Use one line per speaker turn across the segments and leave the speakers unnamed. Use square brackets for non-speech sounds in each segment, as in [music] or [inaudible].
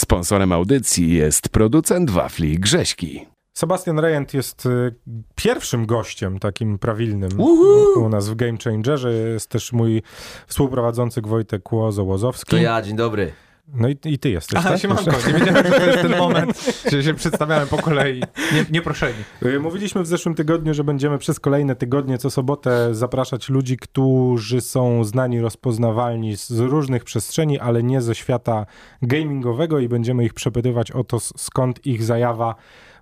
Sponsorem audycji jest producent wafli Grześki.
Sebastian Rejent jest y, pierwszym gościem takim prawilnym
Uhu!
u nas w Game Changerze. Jest też mój współprowadzący Wojtek
To
Łozo-Łozowski.
ja, dzień dobry.
No i, i ty jesteś,
Aha,
tak?
siemanko, nie wiedziałem, że to jest ten moment, że się przedstawiamy po kolei, nie, nieproszeni.
Y, Mówiliśmy w zeszłym tygodniu, że będziemy przez kolejne tygodnie co sobotę zapraszać ludzi, którzy są znani, rozpoznawalni z z różnych przestrzeni, ale nie ze świata gamingowego i będziemy ich przepytywać o to, s- skąd ich zajawa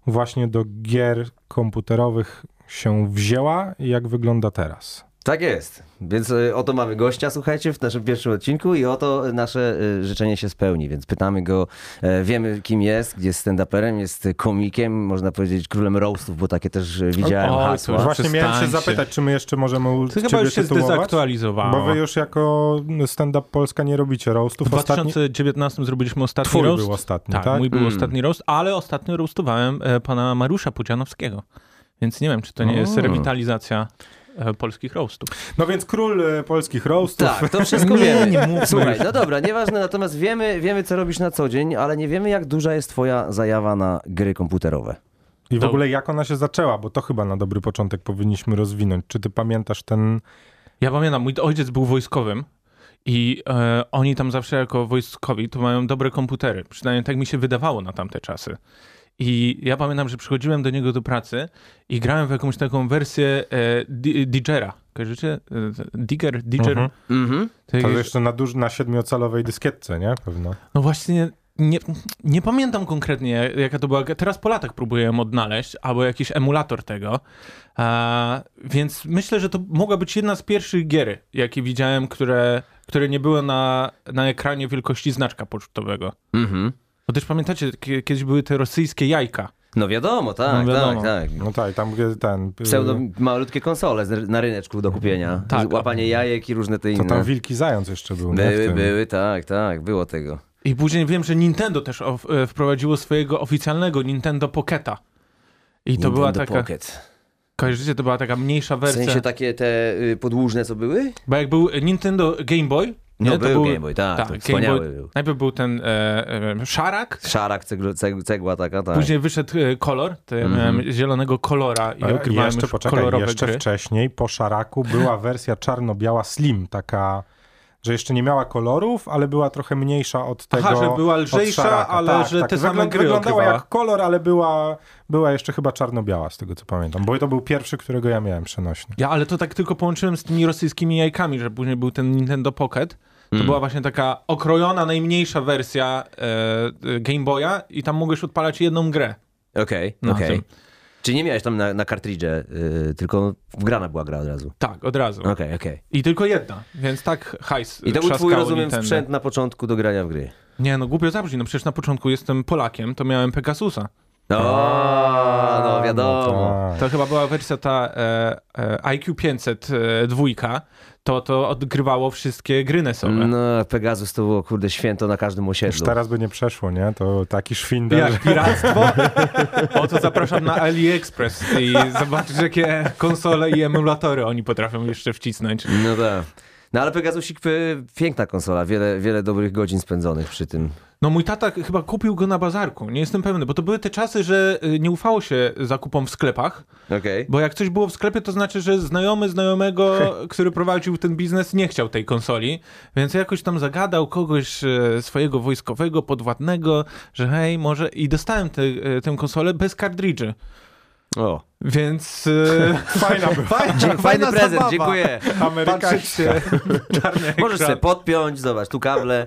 właśnie do gier komputerowych się wzięła i jak wygląda teraz.
Tak jest. Więc y, oto mamy gościa, słuchajcie, w naszym pierwszym odcinku i oto nasze y, życzenie się spełni. Więc pytamy go, e, wiemy kim jest, jest stand-uperem, jest komikiem, można powiedzieć królem roastów, bo takie też y, widziałem
O,
hasła.
cóż.
Właśnie miałem się
przestańcie.
zapytać, czy my jeszcze możemy u
To chyba
ciebie
już się
tytułować?
zdezaktualizowało.
Bo wy już jako stand-up Polska nie robicie roastów.
W
Ostatni...
2019 zrobiliśmy ostatni
Twój
roast.
był ostatni,
tak,
tak?
mój był
Mm.
ostatni roast, ale ostatnio roastowałem e, pana Mariusza Pudzianowskiego. Więc nie wiem, czy to nie jest
O.
Mm.
rewitalizacja e, polskich roastów.
No więc król e, polskich roastów.
Tak, to wszystko
Nie,
wiemy.
nie mówmy
Słuchaj,
już.
no dobra, nieważne, natomiast wiemy, wiemy, co robisz na co dzień, ale nie wiemy, jak duża jest twoja zajawa na gry komputerowe.
I w
To-
ogóle jak ona się zaczęła, bo to chyba na dobry początek powinniśmy rozwinąć. Czy ty pamiętasz ten...
Ja pamiętam, mój ojciec był wojskowym i e, oni tam zawsze jako wojskowi to mają dobre komputery. Przynajmniej tak mi się wydawało na tamte czasy. I ja pamiętam, że przychodziłem do niego do pracy i grałem w jakąś taką wersję e, di- Digera. Kojarzycie? E, Digger? Digger?
Mhm.
Mhm.
To
To
jakieś-
jeszcze na, duż, na siedmiocalowej dyskietce, nie? Pewno.
No właśnie, nie, nie pamiętam konkretnie, jaka to była. gra. Teraz po latach próbuję ją odnaleźć, albo jakiś emulator tego. A, więc myślę, że to mogła być jedna z pierwszych gier, jakie widziałem, które, które nie były na, na ekranie wielkości znaczka pocztowego.
Mhm.
Bo też pamiętacie, kie- kiedyś były te rosyjskie jajka.
No wiadomo, tak,
No wiadomo.
tak, tak.
No tak, i tam gdzie ten... y,
Pseudo malutkie konsole z- na ryneczku do kupienia.
Mhm. Tak.
Łapanie jajek i różne te
To
inne.
no.
tam wilki zając jeszcze był. nie? W
Były,
tym.
były, tak, tak, było tego.
I później wiem, że Nintendo też o, e, wprowadziło swojego oficjalnego Nintendo Pocketa. I to
Nintendo
była taka.
Pocket.
Kojarzycie, to była taka mniejsza
W
wersja.
sensie takie te y, podłużne, co były?
Bo jak był Nintendo Game Boy,
No
nie, to
był Game Boy, tak, to wspaniały był.
Najpierw był ten e, e, szarak,
Szarak, cegl, ceg, cegła taka, tak. Mhm.
później wyszedł e, kolor, to ja miałem zielonego kolora i
Ale
odkrywałem
jeszcze,
już
poczekaj,
kolorowe
jeszcze
gry.
wcześniej po szaraku była wersja czarno-biała slim, taka, że jeszcze nie miała kolorów, ale była trochę mniejsza od tego.
Aha, że była
od
lżejsza,
Szaraka.
ale
tak,
że
tak.
te same gry
Wyglądała
odkrywała.
jak kolor, ale była, była jeszcze chyba czarno-biała, z tego co pamiętam, bo to był pierwszy, którego ja miałem przenośny.
Ja, ale to tak tylko połączyłem z tymi rosyjskimi jajkami, że później był ten Nintendo Pocket. To
Mhm.
była właśnie taka okrojona, najmniejsza wersja e, e, Game Boya i tam mogłeś odpalać jedną grę.
Okej,
No,
okej.
tym.
Czy nie miałeś tam na, na kartridże, y, tylko wgrana była gra od razu.
Tak, od razu.
Okej, okej.
I tylko jedna, więc tak hajs
I to był twój,
trzaskało
rozumiem,
Nintendo.
sprzęt na początku do grania w gry.
Nie, no głupio zabrzmi, no przecież na początku jestem Polakiem, to miałem Pegasusa.
O, no wiadomo.
No tak.
To chyba była wersja ta e, e, IQ 500 e, dwójka, to to odgrywało wszystkie gry nesowe.
No, Pegasus to było, kurde, święto na każdym
Już
osiedlu.
teraz by nie przeszło, nie? To taki szwindel.
Jak piractwo? O to zapraszam na AliExpress i zobaczysz, jakie konsole i emulatory oni potrafią jeszcze wcisnąć.
No tak. No ale Pegasusik, p- piękna konsola, wiele, wiele dobrych godzin spędzonych przy tym.
No mój tata chyba kupił go na bazarku, nie jestem pewny, bo to były te czasy, że y, nie ufało się zakupom w sklepach,
Okej.
bo jak coś było w sklepie, to znaczy, że znajomy znajomego,
[laughs]
który prowadził ten biznes, nie chciał tej konsoli, więc jakoś tam zagadał kogoś e, swojego wojskowego, podwładnego, że hej, może... I dostałem te, e, tę konsolę bez kartridży,
O.
więc... e,
[laughs] Fajna była.
Dzie- fajny prezent, dziękuję.
Amerykańska.
[laughs] czarny
Możesz
ekran.
sobie podpiąć, zobacz, tu kable.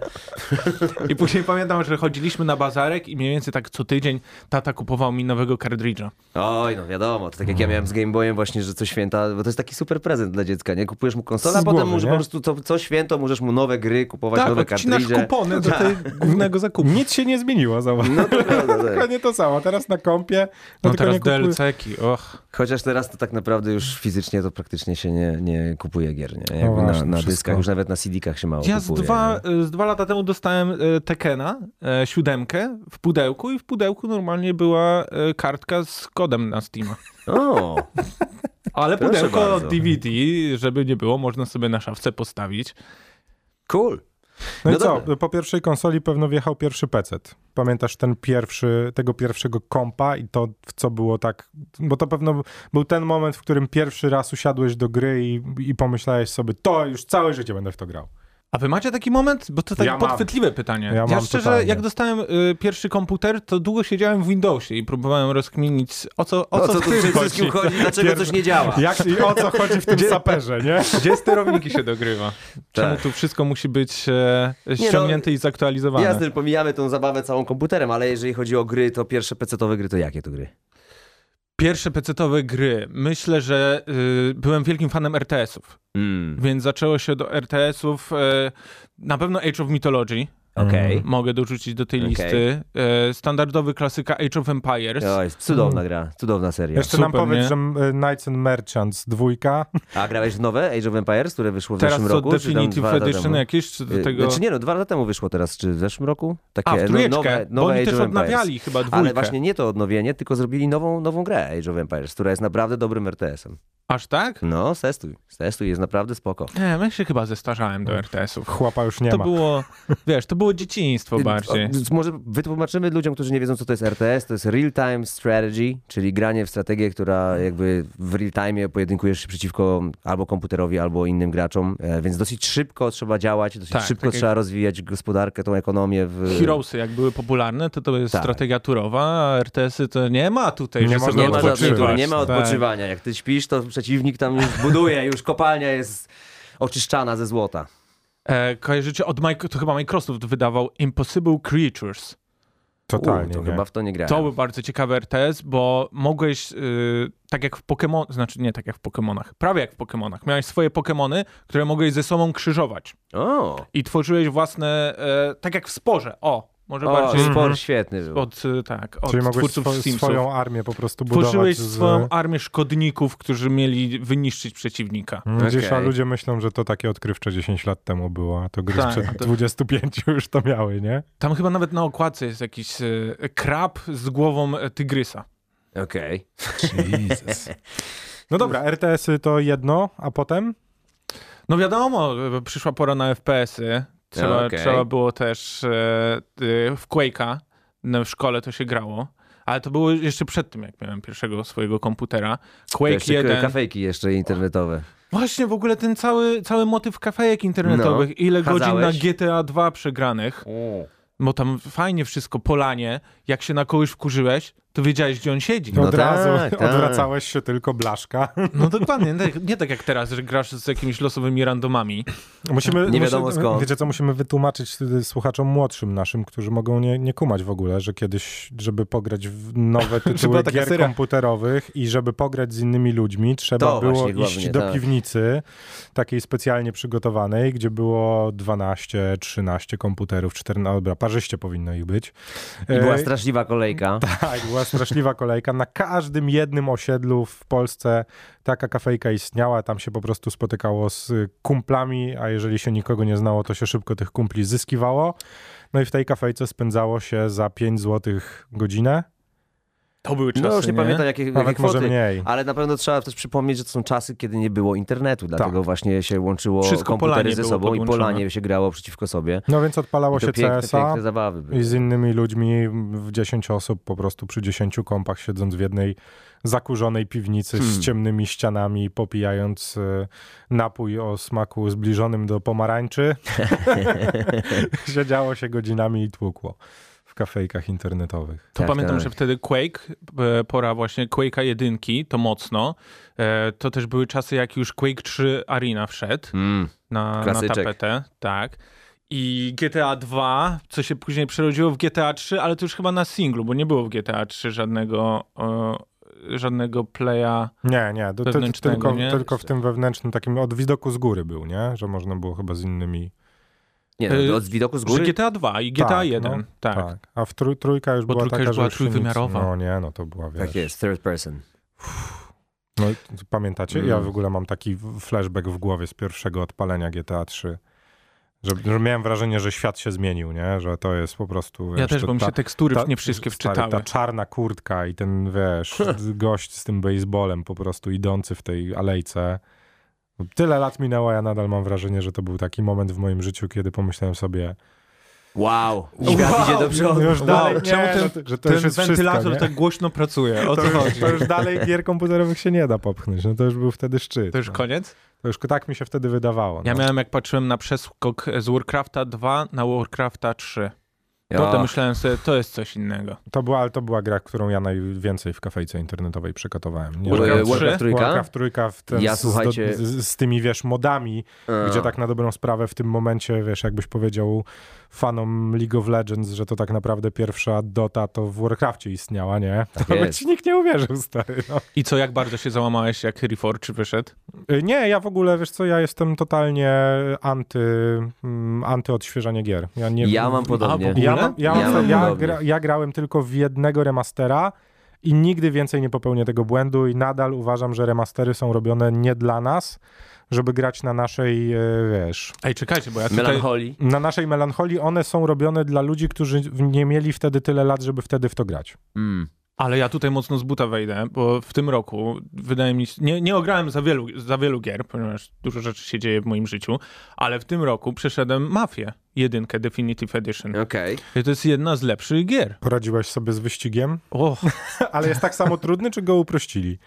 I później pamiętam, że chodziliśmy na bazarek i mniej więcej tak co tydzień tata kupował mi nowego kartridża.
Oj, no wiadomo, to tak jak ja miałem z Game Boyem właśnie, że co święta, bo to jest taki super prezent dla dziecka, nie? Kupujesz mu konsolę, a
Z
potem
głowy,
możesz
nie?
po prostu co, co święto możesz mu nowe gry kupować,
Tak,
nowe
odcinasz
kartridże.
kupony do tej głównego zakupu.
Nic się nie zmieniło, zobacz.
[laughs] Tak.
[laughs]
No to prawda, tak.
Dokładnie to samo. Teraz na kompie.
No
tylko
teraz
nie kupuję.
DLC-ki, och.
Chociaż teraz to tak naprawdę już fizycznie to praktycznie się nie, nie kupuje gier, nie? Jakby na,
No właśnie,
na
wszystko.
dyskach, już nawet na CD-kach się mało
Ja z
kupuje.
dwa,
nie?
y, z dwa lata temu dostałem y, Tekena, e, siódemkę, w pudełku i w pudełku normalnie była e, kartka z kodem na Steama.
O,
[laughs] Ale
Proszę
pudełko
bardzo.
DVD, żeby nie było, można sobie na szafce postawić.
cool.
No,
No
i co?
dobra.
Po pierwszej konsoli pewno wjechał pierwszy PC. Pamiętasz ten pierwszy, tego pierwszego kompa i to, w co było tak. Bo to pewno był ten moment, w którym pierwszy raz usiadłeś do gry i, i pomyślałeś sobie, to już całe życie będę w to grał.
A wy macie taki moment? Bo to takie
Ja mam.
podchwytliwe pytanie.
Ja
Ja,
mam
szczerze,
totalnie.
jak dostałem y, pierwszy komputer, to długo siedziałem w Windowsie i próbowałem rozkminić, o co, o co, w
No, tu
tym
przede wszystkim
chodzi.
[laughs] chodzi, dlaczego
Pierw-
coś nie działa?
Jak i o co chodzi w tym saperze, nie?
Gdzie sterowniki się dogrywa? Czemu
Tak.
tu wszystko musi być e, ściągnięte i zaktualizowane?
Jasne, że pomijamy tą zabawę całą komputerem, ale jeżeli chodzi o gry, to pierwsze pecetowe gry, to jakie to gry?
Pierwsze pecetowe gry. Myślę, że y, byłem wielkim fanem RTS-ów,
Mm.
więc zaczęło się do RTS-ów e, na pewno Age of Mythology.
Okej.
Mogę dorzucić do tej
Okej.
listy. E, standardowy klasyka Age of Empires.
To jest cudowna
Mm.
gra, cudowna seria.
Jeszcze nam
Super,
powiedz,
nie?
że e, Knights and Merchants dwójka.
A grałeś w nowe Age of Empires, które wyszło w
Teraz
zeszłym
to
roku? czy tam
Definitive
dwa lata
Edition
temu?
jakieś, czy do
Y,
tego...
Znaczy nie, no dwa lata temu wyszło teraz, czy w zeszłym roku? Takie
A, w
no-
trójeczkę,
nowe, nowe
bo oni
Age
też
of Empires.
odnawiali chyba dwójkę.
Ale właśnie nie to odnowienie, tylko zrobili nową, nową grę Age of Empires, która jest naprawdę dobrym RTS-em.
Aż tak?
No, testuj, testuj, jest naprawdę spoko.
Nie, ja się chyba zestarzałem
No.
do RTS-ów.
Chłopa już nie
To
ma.
było, wiesz, to było dzieciństwo bardziej.
Y, O, Może wytłumaczymy ludziom, którzy nie wiedzą, co to jest RTS. To jest real-time strategy, czyli granie w strategię, która jakby w real-time pojedynkujesz się przeciwko albo komputerowi, albo innym graczom. E, Więc dosyć szybko trzeba działać, dosyć
Tak,
szybko
tak jak-
trzeba rozwijać gospodarkę, tą ekonomię. W...
Heroesy, jak były popularne, to to jest
Y, Tak.
strategia turowa, a RTS-y to nie ma tutaj,
Nie
że
można
sobie
Nie ma, żadnego,
odpoczywasz.
nie ma
Tak.
odpoczywania. Jak ty śpisz, to przeciwnik tam już buduje, już kopalnia jest oczyszczana ze złota.
E, kojarzycie, od Mike, to chyba Microsoft wydawał Impossible Creatures.
Totalnie.
U, to
nie.
chyba w to nie grałem.
To był bardzo ciekawy RTS, bo mogłeś, y, tak jak w Pokémon, znaczy nie tak jak w Pokémonach, prawie jak w Pokémonach, miałeś swoje Pokémony, które mogłeś ze sobą krzyżować
O,
i tworzyłeś własne, e, tak jak w sporze, o, może
o
bardziej Mhm.
spor świetny był.
od, y, tak, od
Czyli mogłeś
twórców
swo-
Simsów.
swoją armię po prostu budować.
Tworzyłeś
z-
swoją armię szkodników, którzy mieli wyniszczyć przeciwnika.
Mm, Gdzieś
Okej.
a ludzie myślą, że to takie odkrywcze 10 lat temu było, a to gry
Tak,
sprzed
to-
25 już to miały, nie?
Tam chyba nawet na okładce jest jakiś e, krab z głową e, tygrysa.
Okej.
Jesus.
No dobra, RTS-y to jedno, a potem?
No wiadomo, e, przyszła pora na FPS-y. Trzeba,
Okej.
trzeba było też e, e, w Quake'a no, w szkole to się grało. Ale to było jeszcze przed tym, jak miałem pierwszego swojego komputera.
To
Quake
jeszcze
1.
Kafejki jeszcze internetowe.
Właśnie w ogóle ten cały, cały motyw kafejek internetowych.
No.
Ile godzin na
Chadzałeś?
GTA 2 przegranych. Bo tam fajnie wszystko, polanie. Jak się na kogoś wkurzyłeś, to wiedziałeś, gdzie on siedzi.
Od razu
tak, tak.
[laughs] odwracałeś się tylko blaszka.
No [laughs] dokładnie, nie tak, nie tak jak teraz, że grasz z jakimiś losowymi randomami.
Musimy,
Nie wiadomo
musimy,
skąd.
Wiecie co, musimy wytłumaczyć wtedy słuchaczom młodszym naszym, którzy mogą nie, nie kumać w ogóle, że kiedyś, żeby pograć w
[laughs]
nowe tytuły
była taka
gier
seria.
komputerowych i żeby pograć z innymi ludźmi, trzeba
To
było
właśnie
iść
głównie,
do
tak.
piwnicy, takiej specjalnie przygotowanej, gdzie było 12, 13 komputerów, 14, dobra, parzyście powinno ich być.
I była
E,
straszliwa kolejka.
[laughs] tak, była straszliwa kolejka. Na każdym jednym osiedlu w Polsce taka kafejka istniała. Tam się po prostu spotykało z y, kumplami, a jeżeli się nikogo nie znało, to się szybko tych kumpli zyskiwało. No i w tej kafejce spędzało się za 5 zł godzinę,
To były czasy,
No już nie, pamiętam jakie, jakie
nawet może
kwoty.
mniej.
Ale na pewno trzeba też przypomnieć, że to są czasy, kiedy nie było internetu,
Tak.
dlatego właśnie się łączyło
Wszystko
komputery
polanie
ze
było
sobą i
podłączone.
polanie się grało przeciwko sobie.
No więc odpalało
I
się
to piękne,
CSA
piękne zabawy były.
i z innymi ludźmi w 10 osób po prostu przy 10 kompach siedząc w jednej zakurzonej piwnicy z
Hmm.
ciemnymi ścianami, popijając y, napój o smaku zbliżonym do pomarańczy. [laughs] Siedziało się godzinami i tłukło w kafejkach internetowych.
To
Tak,
pamiętam,
tak.
że wtedy Quake, e, pora właśnie Quake'a jedynki, to mocno. E, To też były czasy, jak już Quake 3 Arena wszedł
Mm.
na, na
Klasyczek.
tapetę. Tak. I GTA 2, co się później przerodziło w GTA 3, ale to już chyba na singlu, bo nie było w GTA 3 żadnego, e, żadnego playa.
Nie, nie, to, to,
Wewnętrznego,
tylko,
nie?
tylko w tym wewnętrznym takim od widoku z góry był, nie? Że można było chyba z innymi.
Nie, no,
Y,
od widoku z
Że
góry
GTA 2 i GTA
Tak, no,
1, tak.
A w trój, trójka już
Bo
była
trójka
taka,
już była
że już się nic-
trójwymiarowa.
No nie, no to była wiesz.
Tak jest, third person.
No, i t- pamiętacie? Ja
Mm.
w ogóle mam taki w- flashback w głowie z pierwszego odpalenia GTA 3. Że, że miałem wrażenie, że świat się zmienił, nie? Że to jest po prostu...
Ja
wiesz,
też,
to
bo mi
ta-
się tekstury
ta-
nie wszystkie
stary,
wczytały.
Ta czarna kurtka i
[laughs]
ten, wiesz, gość z tym baseballem po prostu idący w tej alejce. Tyle lat minęło, ja nadal mam wrażenie, że to był taki moment w moim życiu, kiedy pomyślałem sobie,
Wow! Świat idzie do przodu.
już dalej nie,
No, Czemu ten,
że, to- że to już
ten
jest
wentylator
wszystko, nie?
tak głośno pracuje? O
[laughs]
co
to,
chodzi?
już, to już dalej gier komputerowych się nie da popchnąć. No to już był wtedy szczyt.
To już
no.
koniec?
to już tak mi się wtedy wydawało.
Ja
no.
miałem, jak patrzyłem na przeskok z Warcrafta 2 na Warcrafta 3. Potem myślałem sobie, to jest coś innego.
To była, ale to była gra, którą ja najwięcej w kafejce internetowej przekatowałem. Nie,
Warcraft
że-
trzy?
Warcraft trójka?
Warcraft trójka w ten,
Ja,
z,
słuchajcie-
z, z tymi, wiesz, modami,
A.
gdzie tak na dobrą sprawę w tym momencie, wiesz, jakbyś powiedział fanom League of Legends, że to tak naprawdę pierwsza Dota to w Warcrafcie istniała, nie? to by
Tak jest.
ci nikt nie uwierzył, stary, no.
I co, jak bardzo się załamałeś, jak Reforge wyszedł?
Y, Nie, ja w ogóle, wiesz co, ja jestem totalnie anty, mm, anty odświeżanie gier. Ja, nie,
Ja mam
A,
podobnie.
bo-
ja,
ogóle?
mam, ja,
Ja
mam,
mam
ja,
podobnie.
gra, ja grałem tylko w jednego remastera i nigdy więcej nie popełnię tego błędu i nadal uważam, że remastery są robione nie dla nas, żeby grać na naszej, e, wiesz,
Ej, czekajcie, bo ja tutaj...
Melancholii.
na naszej melancholii. One są robione dla ludzi, którzy w- nie mieli wtedy tyle lat, żeby wtedy w to grać.
Mm.
Ale ja tutaj mocno z buta wejdę, bo w tym roku wydaje mi się, nie, nie ograłem za wielu, za wielu gier, ponieważ dużo rzeczy się dzieje w moim życiu, ale w tym roku przeszedłem Mafię, jedynkę Definitive Edition.
Okej.
I to jest jedna z lepszych gier.
Poradziłeś sobie z wyścigiem, [laughs]
Och,
ale jest tak samo trudny, czy go uprościli?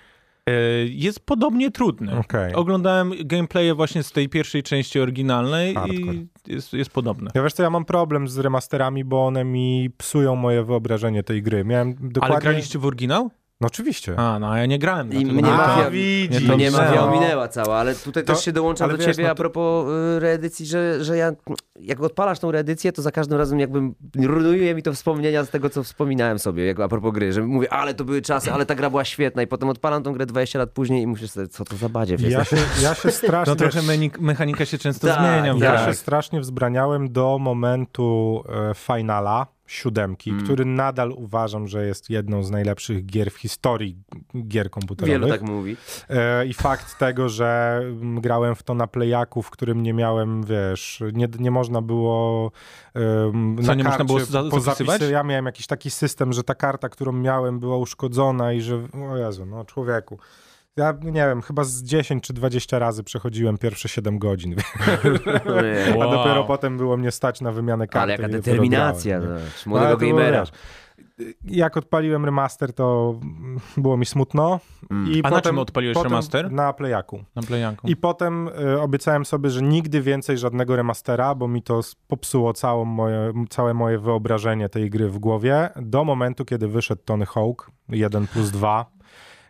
e, jest podobnie trudny.
Okej.
Oglądałem gameplaye właśnie z tej pierwszej części oryginalnej
Hardcore.
i jest, jest podobne.
Ja wiesz co, ja mam problem z remasterami, bo one mi psują moje wyobrażenie tej gry. Miałem dokładnie...
Ale graliście w oryginał?
No oczywiście.
A, no a ja nie grałem. na
I
tym.
mnie
A,
mafia,
widzisz.
Nie, to
mnie
wrze-
mafia
no.
ominęła cała, ale tutaj
To-
też się dołączam
ale
do
wiesz, no
ciebie
to-
a propos y, reedycji, że, że ja jak odpalasz tą reedycję, to za każdym razem jakby rujnuje mi to wspomnienia z tego, co wspominałem sobie jak a propos gry, że mówię, ale to były czasy, ale ta gra była świetna i potem odpalam tą grę 20 lat później i muszę sobie, co to za badziew jest.
Ja się, ja się strasznie...
No trochę menik- mechanika się często
Tak,
zmienia.
Ja
tak.
się strasznie wzbraniałem do momentu e, finala siódemki, który nadal uważam, że jest jedną z najlepszych gier w historii gier komputerowych.
Wielu tak
[laughs]
mówi.
E, I fakt tego, że mm, grałem w to na playaku, w którym nie miałem, wiesz, nie, nie można było em,
Co, nie można było za-
pozapisy-
zapisywać?
Ja miałem jakiś taki system, że ta karta, którą miałem była uszkodzona i że, o Jezu, no człowieku. Ja nie wiem, chyba z 10 czy 20 razy przechodziłem pierwsze 7 godzin. [laughs] Tak,
No nie.
A
Wow.
dopiero potem było mnie stać na wymianę karty.
Ale jaka
i dopiero
determinacja
grałem, nie?
zobacz,
No, ale
młodego
to było,
gamera.
wiesz, Jak odpaliłem remaster, to mm, było mi smutno.
Mm.
I
A na
potem,
czym odpaliłeś
potem
remaster?
Na Playaku.
Na plejanku.
I potem y, obiecałem sobie, że nigdy więcej żadnego remastera, bo mi to s- popsuło całą moje, całe moje wyobrażenie tej gry w głowie, do momentu, kiedy wyszedł Tony Hawk 1 plus 2,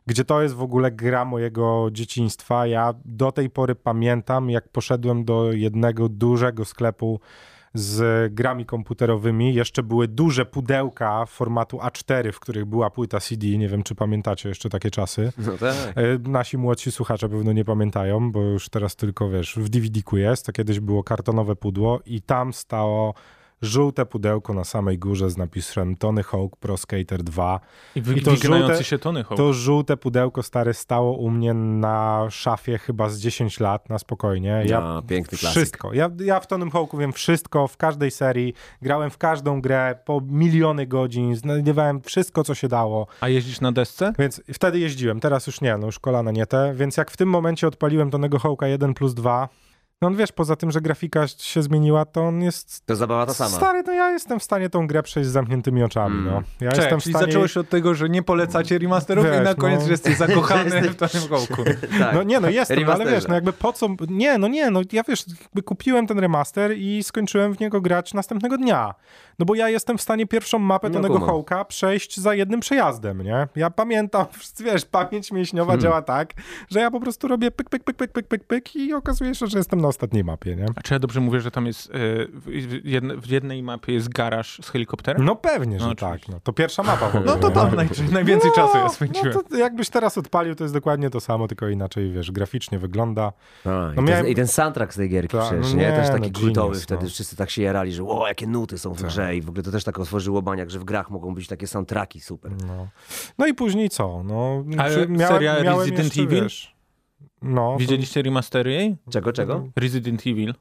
gdzie to jest w ogóle gra mojego dzieciństwa. Ja do tej pory pamiętam, jak poszedłem do jednego dużego sklepu z grami komputerowymi. Jeszcze były duże pudełka formatu A4, w których była płyta CD. Nie wiem, czy pamiętacie jeszcze takie czasy.
No tak.
E, Nasi młodsi słuchacze pewno nie pamiętają, bo już teraz tylko wiesz, w DVD-ku jest. To kiedyś było kartonowe pudło i tam stało żółte pudełko na samej górze z napisem Tony Hawk Pro Skater 2.
I, wy-
i to
wyginający
żółte-
się Tony Hawk.
To żółte pudełko stare stało u mnie na szafie chyba z 10 lat, na spokojnie. Ja
No, piękny klasyk.
wszystko. Ja, ja w Tonym Hawku wiem wszystko, w każdej serii. Grałem w każdą grę po miliony godzin, znajdowałem wszystko, co się dało.
A jeździsz na desce?
Więc wtedy jeździłem, teraz już nie, no już kolana nie te. Więc jak w tym momencie odpaliłem Tonego Hołka 1 plus 2, no on wiesz, poza tym, że grafika się zmieniła, to on jest...
To zabawa ta sama.
Stary, no ja jestem w stanie tą grę przejść z zamkniętymi oczami, no. Ja jestem w
czyli
stanie...
zacząłeś od tego, że nie polecacie remasterów
Wiesz,
i na koniec,
no.
że jesteś zakochany w Tonym
[laughs]
Hołku.
Tak.
No nie, no jestem, ale
Remasterze.
wiesz, no jakby po co... Nie, no nie, no ja wiesz, jakby kupiłem ten remaster i skończyłem w niego grać następnego dnia. No bo ja jestem w stanie pierwszą mapę
No,
Tonego
kumam.
Hołka przejść za jednym przejazdem, nie? Ja pamiętam, [laughs] wiesz, pamięć mięśniowa działa tak, że ja po prostu robię pyk, pyk, pyk, pyk, pyk, pyk, pyk i okazuje się, że jestem na ostatniej mapie, nie?
A czy ja dobrze mówię, że tam jest. e, w- w, jedne, w jednej mapie jest garaż z helikopterem?
No pewnie, że
No,
tak.
oczywiście.
No, to pierwsza mapa [laughs] w ogóle,
No to
nie?
tam naj, najwięcej czasu ja spędziłem.
No to jakbyś teraz odpalił, to jest dokładnie to samo, tylko inaczej, wiesz, graficznie wygląda.
A, Tak, i,
No
ten,
miałem-
I ten soundtrack z tej gierki
Tak,
przecież,
no
nie?
nie,
Też
no
taki
genius,
kultowy
no.
wtedy, wszyscy tak się jarali, że o, jakie nuty są w grze i w ogóle to też tak otworzyło baniak, że w grach mogą być takie soundtracki super.
No, no i później co? No,
Ale
przy-
seria Resident
jeszcze,
Evil?
Wiesz, no, to-
Widzieliście remastery jej?
Czego, czego?
Resident Evil.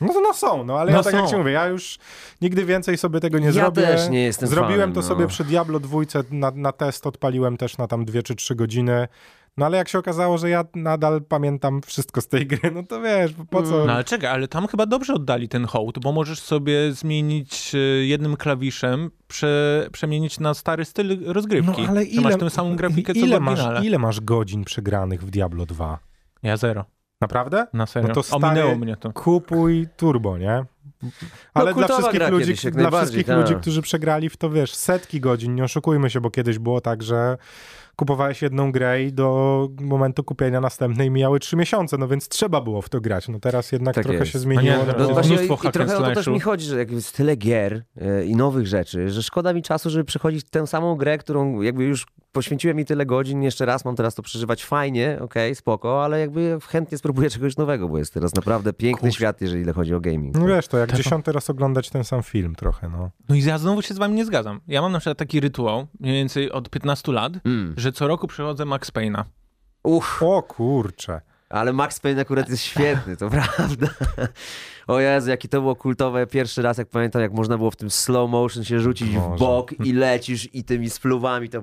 No to no są, no ale
No
ja tak jak
są.
ci mówię, ja już nigdy więcej sobie tego nie
Ja
zrobię.
też nie jestem
Zrobiłem
fanem,
to
no.
sobie przy Diablo dwójce na, na test, odpaliłem też na tam dwie czy trzy godziny. No ale jak się okazało, że ja nadal pamiętam wszystko z tej gry, no to wiesz, po- po co?
No ale czekaj, ale tam chyba dobrze oddali ten hołd, bo możesz sobie zmienić y, jednym klawiszem, prze, przemienić na stary styl rozgrywki.
No, ale
Że
ile-
masz tę samą grafikę, co
ile,
w
masz,
oryginale.
ile masz godzin przegranych w Diablo 2?
Ja zero,
Naprawdę?
na serio.
No to stary-
Ominęło mnie to.
Kupuj turbo, nie? Ale dla
No, kultowa
wszystkich,
gra
ludzi,
kiedyś, jak
dla
najbardziej,
wszystkich
tak.
ludzi, którzy przegrali w to, wiesz, setki godzin, nie oszukujmy się, bo kiedyś było tak, że kupowałeś jedną grę i do momentu kupienia następnej mijały trzy miesiące, no więc trzeba było w to grać. No teraz jednak
Tak
trochę
jest.
się zmieniło.
A nie,
no,
no
No
Jest
właśnie
mnóstwo
i, i
hack and
trochę o to też
slashów.
mi chodzi, że jakby jest tyle gier e, i nowych rzeczy, że szkoda mi czasu, żeby przechodzić tę samą grę, którą jakby już poświęciłem mi tyle godzin, jeszcze raz mam teraz to przeżywać fajnie, okej, spoko, ale jakby chętnie spróbuję czegoś nowego, bo jest teraz naprawdę piękny świat, jeżeli chodzi o gaming.
no wiesz to, jak dziesiąty raz oglądać ten sam film trochę, no.
No i ja znowu się z wami nie zgadzam. Ja mam na przykład taki rytuał, mniej więcej od 15 lat,
Mm.
że co roku przechodzę Max Payne'a.
Uff,
O kurcze.
ale Max Payne akurat jest świetny, to prawda. O Jezu, jakie to było kultowe. Pierwszy raz, jak pamiętam, jak można było w tym slow motion się rzucić w
Boże.
bok i lecisz i tymi spluwami to...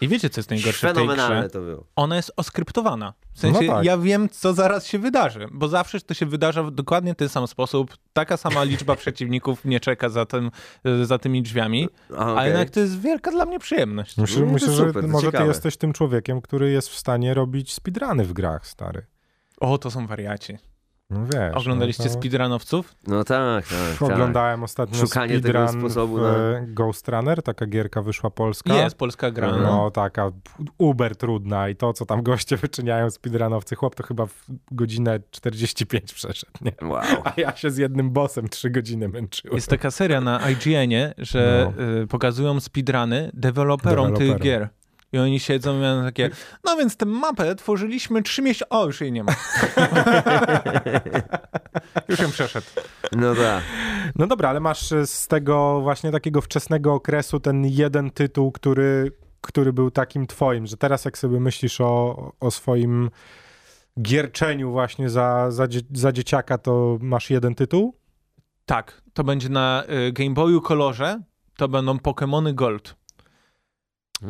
I wiecie, co jest najgorsze w tej grze?
Fenomenalne to było.
Ona jest oskryptowana. W sensie,
No tak.
ja wiem, co zaraz się wydarzy, bo zawsze to się wydarza w dokładnie ten sam sposób. Taka sama liczba [laughs] przeciwników mnie czeka za, tym, e, za tymi drzwiami.
A,
A
okej.
jednak to jest wielka dla mnie przyjemność.
Myślę,
No to
myślę że
super, to
może
ciekawe.
ty jesteś tym człowiekiem, który jest w stanie robić speedruny w grach, stary.
O, to są wariaci.
No wiesz.
Oglądaliście
no, to-
speedrunowców?
No tak, tak. tak.
Oglądałem ostatnio
Szukanie
speedrun
tego sposobu no.
w,
na-
e, Ghost Runner, taka gierka wyszła polska.
Jest polska gra. No.
Tak. No, taka uber trudna i to, co tam goście wyczyniają speedrunowcy. Chłop to chyba w godzinę 45 przeszedł, nie?
Wow.
A ja się z jednym bossem 3 godziny męczyłem.
Jest taka seria na IGN-ie, że y, pokazują speedruny deweloperom tych
No. Deweloperom.
gier. I oni siedzą i mają takie, no więc tę mapę tworzyliśmy trzy miesiące... O, już
[laughs]
jej nie ma. już ją przeszedł.
No tak.
No dobra, ale masz e, z tego właśnie takiego wczesnego okresu ten jeden tytuł, który, który był takim twoim, że teraz jak sobie myślisz o, o swoim gierczeniu właśnie za, za, dzie- za dzieciaka, to masz jeden tytuł?
Tak, to będzie na y, Game Boyu kolorze, to będą Pokémony Gold.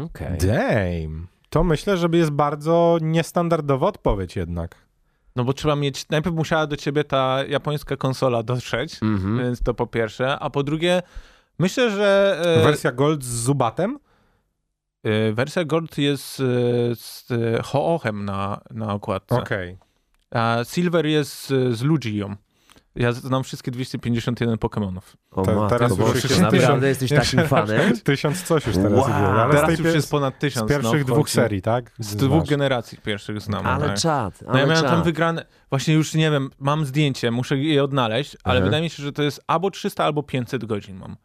Okej.
Damn. To myślę, że jest bardzo niestandardowa odpowiedź jednak.
No bo trzeba mieć... Najpierw musiała do ciebie ta japońska konsola dotrzeć,
Mhm.
więc to po pierwsze. A po drugie, myślę, że... y,
Wersja Gold z Zubatem?
Y, Wersja Gold jest y, z y, Hoochem na, na okładce,
Okej.
a Silver jest y, z Lugią. Ja znam wszystkie 251 Pokemonów.
O
Te-
matko,
teraz
bo
już
przecież
się tysiąc-
naprawdę jesteś
[laughs]
takim fanem.
[laughs] Tysiąc coś już teraz
Wow.
wow. ale
Teraz
z, tej
już
pier-
jest ponad
z
tysiąc.
pierwszych
no,
dwóch
wchodzi.
serii, tak?
Z dwóch
Znasz.
generacji pierwszych znam.
Ale
tak.
czad,
No
ale
ja miałem
czad.
tam wygrane, właśnie już nie wiem, mam zdjęcie, muszę je odnaleźć, ale
Mhm.
wydaje mi się, że to jest albo 300, albo 500 godzin mam.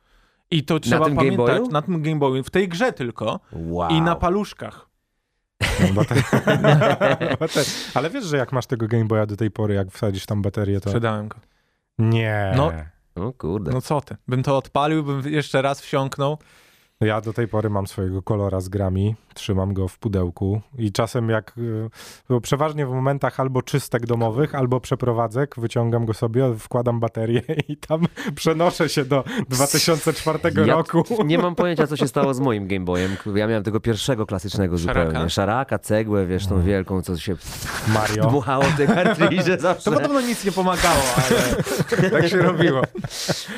I to trzeba
tym Game
pamiętać
Boyu?
na tym Game Boyu, w tej grze tylko
Wow.
i na paluszkach.
No, [laughs] bo te-
[laughs]
[laughs] bo te- ale wiesz, że jak masz tego Game Boya do tej pory, jak wsadzisz tam baterię, to...
Sprzedałem go.
Nie.
No.
O kurde.
No co ty? Bym to odpalił, bym jeszcze raz wsiąknął.
Ja do tej pory mam swojego kolora z grami, trzymam go w pudełku i czasem jak, y, bo przeważnie w momentach albo czystek domowych, albo przeprowadzek, wyciągam go sobie, wkładam baterię [laughs] i tam przenoszę się do 2004
Ja
roku.
Nie mam pojęcia, co się stało z moim Game Boyem. Ja miałem tego pierwszego klasycznego
Szaraka?
zupełnie. Szaraka, cegłę, wiesz,
Mhm.
tą wielką, co się
[laughs] Mario.
dmuchało
[laughs]
te kartridże zawsze.
To podobno nic nie pomagało,
[laughs]
ale tak się robiło.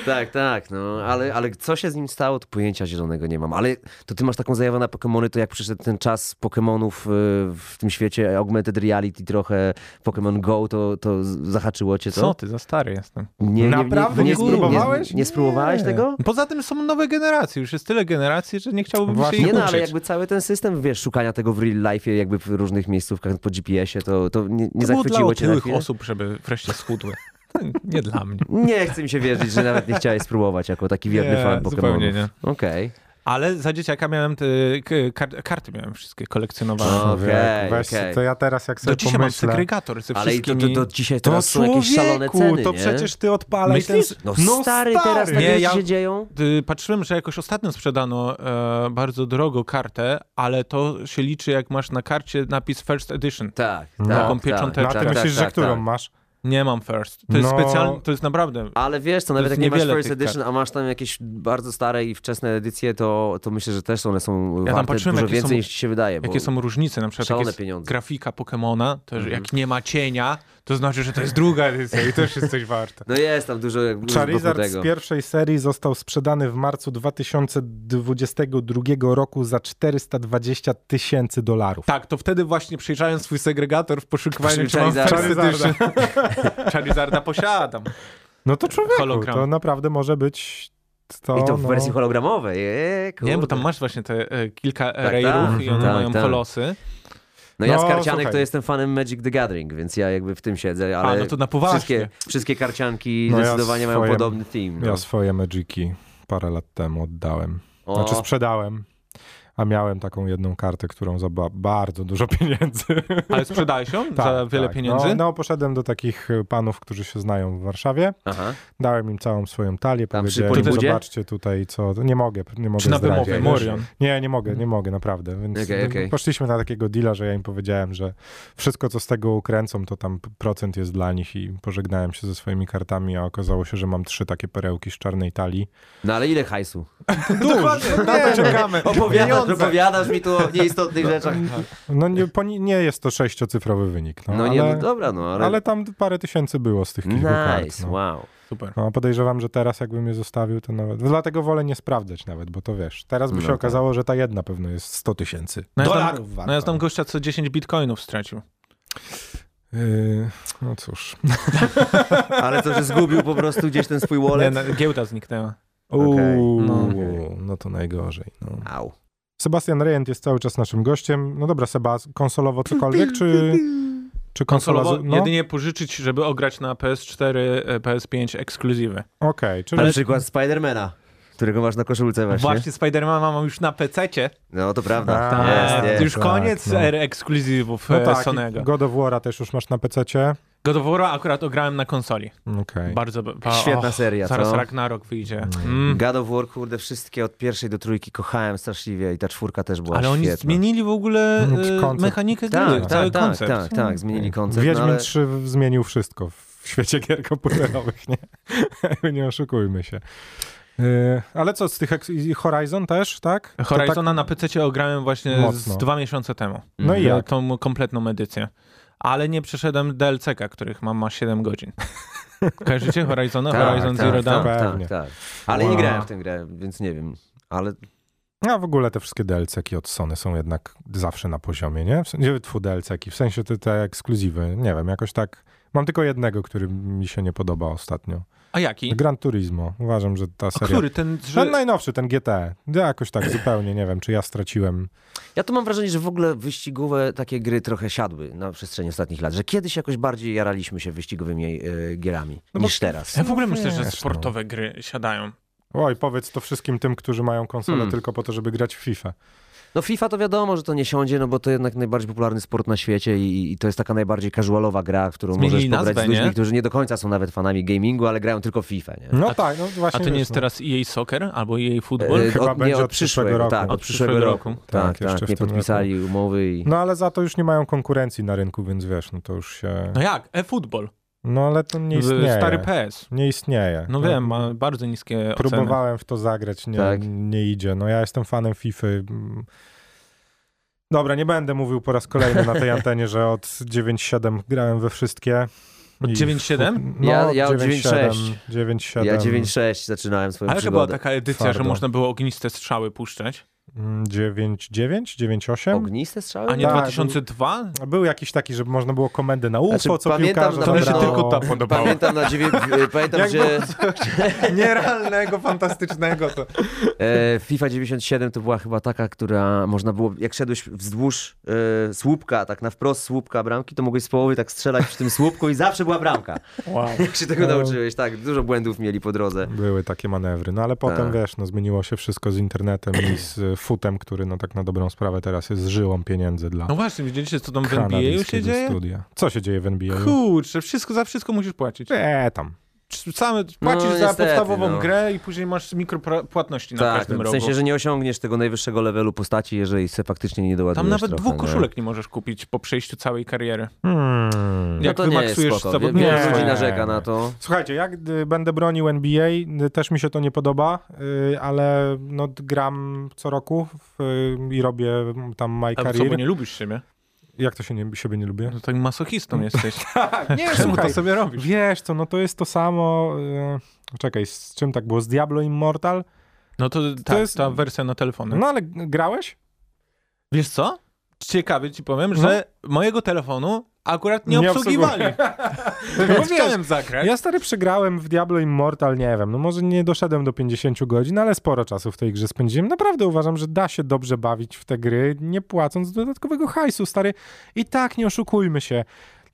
Tak, tak, no, ale, ale co się z nim stało, to pojęcia zielonego nie mam. Ale to ty masz taką zajawę na Pokemony, to jak przyszedł ten czas Pokemonów y, w tym świecie, augmented reality trochę, Pokemon Go, to, to zahaczyło cię to?
Co ty, za stary jestem.
Nie, nie,
Naprawdę nie
spró-
spróbowałeś?
Nie, nie spróbowałeś
Nie.
tego?
Poza tym są nowe generacje, już jest tyle generacji, że nie chciałbym
Właśnie.
się
Nie
ich
no,
uczyć.
ale jakby cały ten system, wiesz, szukania tego w real life, jakby w różnych miejscówkach po GPS-ie, to, to nie, nie
to było dla
zachwyciło cię na
otyłych
chwilę?
osób, żeby
[laughs]
wreszcie schudły. nie dla mnie.
Nie chce mi się wierzyć, że nawet nie chciałeś spróbować jako taki wierny
Nie,
fan Pokemonów.
zupełnie nie.
Okej.
Ale za dzieciaka miałem te k- kar- karty, miałem wszystkie kolekcjonowane.
O, Okej,
Weź,
okej.
To ja teraz jak sobie
Do dzisiaj mam
pomyślę...
segregator ze
Ale i to,
wszystkimi...
to, to dzisiaj teraz są jakieś szalone
człowieku,
ceny,
to
nie?
przecież ty odpalaj
Myślisz?
ten...
No, stary, teraz takie
Nie,
rzeczy
ja-
się dzieją.
Y, Patrzyłem, że jakoś ostatnio sprzedano e, bardzo drogo kartę, ale to się liczy, jak masz na karcie napis First Edition.
Tak, tak,
Taką
tak,
piecząteczkę.
No, a
Tak,
ty myślisz, że którą
tak.
masz?
Nie mam first. To jest
No.
specjalnie, to jest naprawdę.
Ale wiesz co, nawet
jest
jak nie masz
niewiele
First
tych
Edition, a masz tam jakieś bardzo stare i wczesne edycje, to, to myślę, że też one są
tam
warte
patrzyłem,
dużo
jakie są-
więcej niż ci się wydaje. Bo...
Jakie są różnice, na przykład jak
szalone
jest
pieniądze.
grafika Pokemona, to że
Mhm.
jak nie ma cienia, to znaczy, że to jest druga edycja.
I też jest coś warte.
No jest tam dużo jakby
Charizard
tego.
z pierwszej serii został sprzedany w marcu 2022 roku za 420 tysięcy dolarów.
Tak, to wtedy właśnie przyjrzałem swój segregator w poszukiwaniu, czy mam
Tak,
Charizarda.
first edition. Charizarda posiadam.
No to człowieku,
Hologram.
to naprawdę może być to...
I to w
no.
wersji hologramowej. E,
Nie, bo
kurde.
tam masz właśnie te e, kilka
Tak,
tak, rejrów
tak,
i one
tak,
mają
tak.
polosy.
No ja z
No,
karcianek
słuchaj.
to jestem fanem Magic the Gathering, więc ja jakby w tym siedzę, ale
A, no to na poważnie.
wszystkie, wszystkie karcianki
No ja
zdecydowanie mają
swoje-
podobny theme. No.
Ja swoje Magiki parę lat temu oddałem.
O,
Znaczy sprzedałem. A miałem taką jedną kartę, którą za ba- bardzo dużo pieniędzy.
Ale sprzedałeś ją za
Tak,
wiele
tak.
pieniędzy?
No, no, poszedłem do takich e, panów, którzy się znają w Warszawie.
aha.
Dałem im całą swoją talię,
Tam przy
powiedziałem,
Polibudzie?
zobaczcie tutaj co... Nie mogę, nie mogę
Czy na
zdradzić.
wymowę? Morion.
Nie, nie mogę, nie mogę, naprawdę. Więc
Okej, okej.
poszliśmy na takiego deala, że ja im powiedziałem, że wszystko, co z tego ukręcą, to tam p- procent jest dla nich i pożegnałem się ze swoimi kartami, a okazało się, że mam trzy takie perełki z czarnej talii.
No ale ile
[laughs]
hajsu?
No,
Dokładnie, na to czekamy.
Opowiadasz, opowiadasz mi tu o nieistotnych rzeczach.
No nie, po, ni- nie jest to sześciocyfrowy wynik, no,
No
ale,
nie, no dobra, no ale...
ale... tam parę tysięcy było z tych kilku kart.
Nice,
No.
wow.
[laughs] Super.
No, podejrzewam, że teraz jakbym je zostawił, to nawet... Dlatego wolę nie sprawdzać nawet, bo to wiesz, teraz by
No
się
tak.
okazało, że ta jedna pewno jest 100 tysięcy
No ja znam-
dolarów warta.
No ja znam gościa, co 10 bitcoinów stracił.
Yy, no cóż.
[laughs] Ale to, że zgubił po prostu gdzieś ten swój
Nie,
wallet.
na- giełda zniknęła.
Okej.
Uuu,
Okej.
no to najgorzej. No.
Au.
Sebastian Rejent jest cały czas naszym gościem. No dobra, Sebas, konsolowo cokolwiek, czy, czy konsola...
Konsolowo
no, Okej,
jedynie pożyczyć, żeby ograć na PS4, e, PS5 ekskluzywy.
czyli...
Na przykład Spidermana, którego masz na koszulce właśnie.
Właśnie Spidermana mam już na PC-cie.
No to prawda.
A,
Jest,
Tak,
jest.
Już
tak,
koniec
no.
ery ekskluzywów
No
e,
tak,
Sonego.
God of War'a też już masz na PC-cie.
God of War'a akuratograłem na konsoli.
Okej.
Bardzo... Ba,
Świetna
och,
seria,
Zaraz
co?
Ragnarok wyjdzie. Mm.
God of War, kurde, wszystkie od pierwszej do trójki kochałem straszliwie i ta czwórka też była
Ale oni
świetna.
zmienili w ogóle
Jakiś
e,
koncept.
mechanikę gry,
tak,
cały
tak, tak,
koncept. Hmm.
tak, tak, zmienili koncept.
Wiedźmin
no, ale...
3 w- zmienił wszystko w świecie gier komputerowych, nie? [laughs] nie oszukujmy się. Yy, ale co, z tych... eks- i Horizon też, tak? To
Horizona
tak...
na PC ograłem właśnie
Mocno.
z dwa miesiące temu.
No i
Ja
jak?
tą kompletną edycję. Ale nie przeszedłem DLC-ka, których mam ma
[laughs]
7 godzin. Kojarzycie Horizona?
Tak,
no, Horizon
tak,
Zero
tak,
Dawn?
tak,
Pewnie.
tak. Ale nie
Wow.
grałem w tę grę, więc nie wiem. Ale
A w ogóle te wszystkie DLC-ki od Sony są jednak zawsze na poziomie, nie? W sensie, tfu, DLC-ki, w sensie te, te ekskluzywy, nie wiem, jakoś tak... Mam tylko jednego, który mi się nie podoba ostatnio.
A jaki?
Gran Turismo. Uważam, że ta
A
seria...
który? Ten,
Ten
że...
najnowszy, ten GT. Ja jakoś tak zupełnie nie wiem, czy ja straciłem.
ja tu mam wrażenie, że w ogóle wyścigowe takie gry trochę siadły na przestrzeni ostatnich lat, że kiedyś jakoś bardziej jaraliśmy się wyścigowymi e, gierami
No bo-
niż teraz.
Ja w ogóle myślę, że
Wiesz, no.
sportowe gry siadają.
Oj, powiedz to wszystkim tym, którzy mają konsolę
Hmm.
tylko po to, żeby grać w FIFA.
No FIFA to wiadomo, że to nie siądzie, no bo to jednak najbardziej popularny sport na świecie i, i to jest taka najbardziej casualowa gra, w którą
Zmienili
możesz pograć
nazwę,
z ludźmi,
nie?
którzy nie do końca są nawet fanami gamingu, ale grają tylko w FIFA, nie?
No
A-
tak, no
A
właśnie.
to nie
wiesz,
jest
no.
teraz EA Soccer albo EA Football?
E,
Chyba będzie od przyszłego roku.
Tak, od przyszłego roku. Tak,
jeszcze
tak,
w
nie
tym
podpisali umowy i...
No ale za to już nie mają konkurencji na rynku, więc wiesz, no to już się...
No jak? E-Football.
No ale to nie istnieje.
Stary PS.
Nie istnieje.
No wiem, ma bardzo niskie oceny.
Próbowałem w to zagrać, nie,
Tak.
nie idzie. No ja jestem fanem FIFA. Dobra, nie będę mówił po raz kolejny na
[laughs]
tej antenie, że od 9.7 grałem we wszystkie.
Od
I-
9.7?
No,
Ja- ja od
9.7. 9.7.
Ja 9.6 zaczynałem swoją
Ale chyba
przygodę.
taka edycja,
Twardo.
że można było ogniste strzały puszczać.
Mm, 9.9, 9.8.
Ogniste strzały?
A nie
Tak.
2002?
Był jakiś taki, że można było komendę na UFO,
Znaczy,
co
pamiętam
piłkarze
na
To mi się
pewno-
zabrało.
tylko ta
[laughs]
podobała.
Pamiętam na dziewię... e, pamiętam,
Jak
że
Nierealnego, fantastycznego to.
e, FIFA 97 to była chyba taka, która można było, jak szedłeś wzdłuż e, słupka, tak na wprost słupka bramki, to mogłeś z połowy tak strzelać w tym słupku i zawsze była bramka.
Wow.
Jak się tego nauczyłeś, tak, dużo błędów mieli po drodze.
Były takie manewry, no ale potem
Tak.
wiesz, no zmieniło się wszystko z internetem i z e, futem, który no tak na dobrą sprawę teraz jest żyłą pieniędzy dla
No właśnie, widzieliście, co tam w NBA już się
kanadyjskiego
dzieje?
studia. Co się dzieje w NBA?
Kurczę, wszystko, za wszystko musisz płacić.
E, tam.
same płacisz za
No, niestety,
podstawową
no.
grę i później masz mikropłatności na
Tak,
każdym
w
rogu.
sensie, że nie osiągniesz tego najwyższego levelu postaci, jeżeli se faktycznie nie doładujesz
Tam nawet
trochę,
dwóch
nie?
koszulek nie możesz kupić po przejściu całej kariery.
Hmm.
Jak
no to nie jest
wymaksujesz
spoko. Wie-
zawodnika.
Wiele
Nie.
ludzi narzeka na to.
Słuchajcie, jak y, będę bronił NBA, y, też mi się to nie podoba, y, ale no, d- gram co roku w, y, i robię mm, tam my
A co, bo
career.
nie lubisz siebie?
Jak to się nie, siebie nie lubię?
No tak
[laughs]
masochistą jesteś.
Nie,
Czemu to
słuchaj,
sobie robisz?
wiesz co, no to jest to samo... y, Czekaj, z czym tak było? Z Diablo Immortal?
No to, tak,
jest-
ta wersja na telefony.
No ale g- grałeś?
Wiesz co? Ciekawie ci powiem, że mojego telefonu akurat nie,
No. Nie
obsługiwali. [laughs]
No
Więc
wiesz,
chciałem zagrać.
Ja stary przegrałem w Diablo Immortal, nie wiem, no może nie doszedłem do 50 godzin, ale sporo czasu w tej grze spędziłem. Naprawdę uważam, że da się dobrze bawić w te gry, nie płacąc dodatkowego hajsu, stary. I tak, nie oszukujmy się,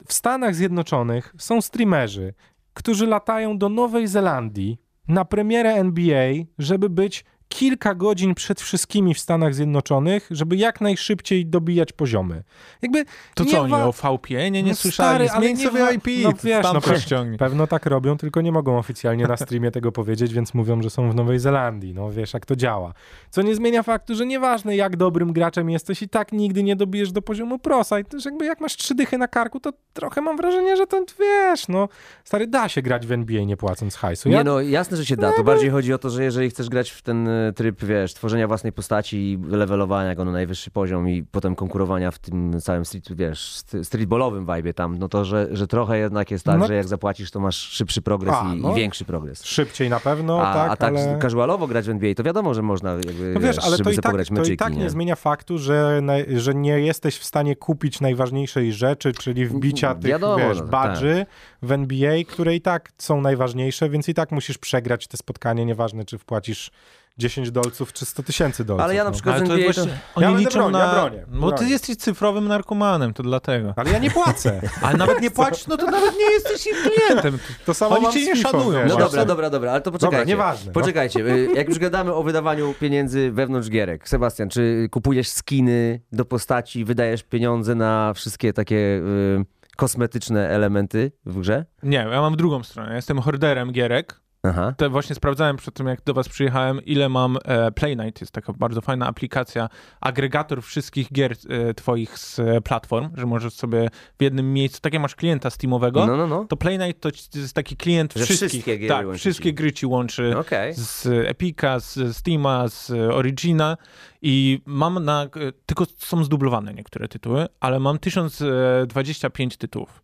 w Stanach Zjednoczonych są streamerzy, którzy latają do Nowej Zelandii na premierę NBA, żeby być kilka godzin przed wszystkimi w Stanach Zjednoczonych, żeby jak najszybciej dobijać poziomy. Jakby
To
nie
co oni
wa-
o VPN nie, nie
No
słyszeli?
stary, ale
Zmień
nie
sobie
wa-
IP,
no wiesz,
tam
no
coś
pe-
ściągnij.
Pewno tak robią, tylko nie mogą oficjalnie na streamie tego powiedzieć, więc mówią, że są w Nowej Zelandii. No wiesz, jak to działa. Co nie zmienia faktu, że nieważne jak dobrym graczem jesteś i tak nigdy nie dobijesz do poziomu prosa. I też jakby jak masz trzy dychy na karku, to trochę mam wrażenie, że to wiesz, no stary, da się grać w NBA nie płacąc hajsu. Ja
Nie no, jasne, że się da. To bardziej chodzi o to, że jeżeli chcesz grać w ten e, tryb, wiesz, tworzenia własnej postaci i levelowania go na najwyższy poziom i potem konkurowania w tym całym street, wiesz, st- streetballowym vibe tam, no to, że, że trochę jednak jest tak,
No.
że jak zapłacisz, to masz szybszy progres
A,
i,
no.
i większy progres.
Szybciej na pewno,
a,
tak,
a tak
ale...
casualowo grać w NBA, to wiadomo, że można jakby,
No wiesz, ale
żeby
to i,
sobie
tak,
pograć
to
meczyki,
i tak nie zmienia faktu, że, na, że nie jesteś w stanie kupić najważniejszej rzeczy, czyli wbicia tych
Wiadomo,
wiesz,
no, tak.
badży w NBA, które i tak są najważniejsze, więc i tak musisz przegrać te spotkanie, nieważne czy wpłacisz 10 dolców czy 100 tysięcy dolców.
Ale ja na
no.
przykład
Ale
z
to
NBA to- [laughs]
właśnie, oni
będę
liczą
bronił,
na...
ja bronię,
Bo ty
bronię.
jesteś cyfrowym narkomanem, to dlatego.
Ale ja nie płacę.
Ale nawet nie płacisz, no to [laughs] nawet nie jesteś ich klientem.
To
[laughs]
samo
Oni
mam
cię
z
nie
FIFA,
szanują.
wiesz.
No
Właśnie.
dobra, dobra, dobra, ale to poczekajcie.
nieważne, no.
Poczekajcie, y, jak już gadamy o wydawaniu pieniędzy wewnątrz gierek. Sebastian, czy kupujesz skiny do postaci, wydajesz pieniądze na wszystkie takie y, kosmetyczne elementy w grze?
Nie, ja mam drugą stronę. Ja jestem horderem gierek.
Aha.
Te właśnie sprawdzałem przed tym, jak do was przyjechałem, ile mam e, Playnight. Jest taka bardzo fajna aplikacja, agregator wszystkich gier e, twoich z e, platform, że możesz sobie w jednym miejscu, tak jak masz klienta Steamowego,
No, no, no.
to Playnight to ci- to jest taki klient
Że
wszystkich.
wszystkie gry
tak,
łączy
wszystkie
ci. No,
gry ci łączy
Okej.
z Epica, z Steama, z Origina i mam na... e, Tylko są zdublowane niektóre tytuły, ale mam 1025 tytułów.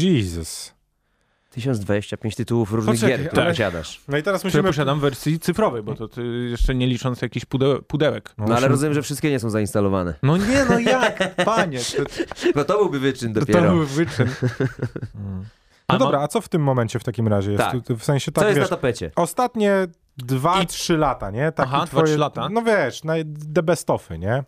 Jesus.
1025 tytułów różnych
Poczekaj,
gier, które
ale-
posiadasz.
No i teraz
Które
musimy...
posiadam w wersji cyfrowej, bo to ty, jeszcze nie licząc jakichś pudeł, pudełek.
No ale
musimy-
rozumiem, że wszystkie nie są zainstalowane.
No nie, no jak, panie, to,
No to byłby wyczyn
to,
dopiero.
był wyczyn. A
No
mam-
dobra, a co w tym momencie w takim razie jest?
Tak.
Tu- tu W sensie
Co
tak,
jest
wiesz,
na tapecie?
ostatnie dwa,
I-
trzy lata, nie? Takie
Aha, dwa, trzy lata.
No wiesz, naj, the best offy, nie?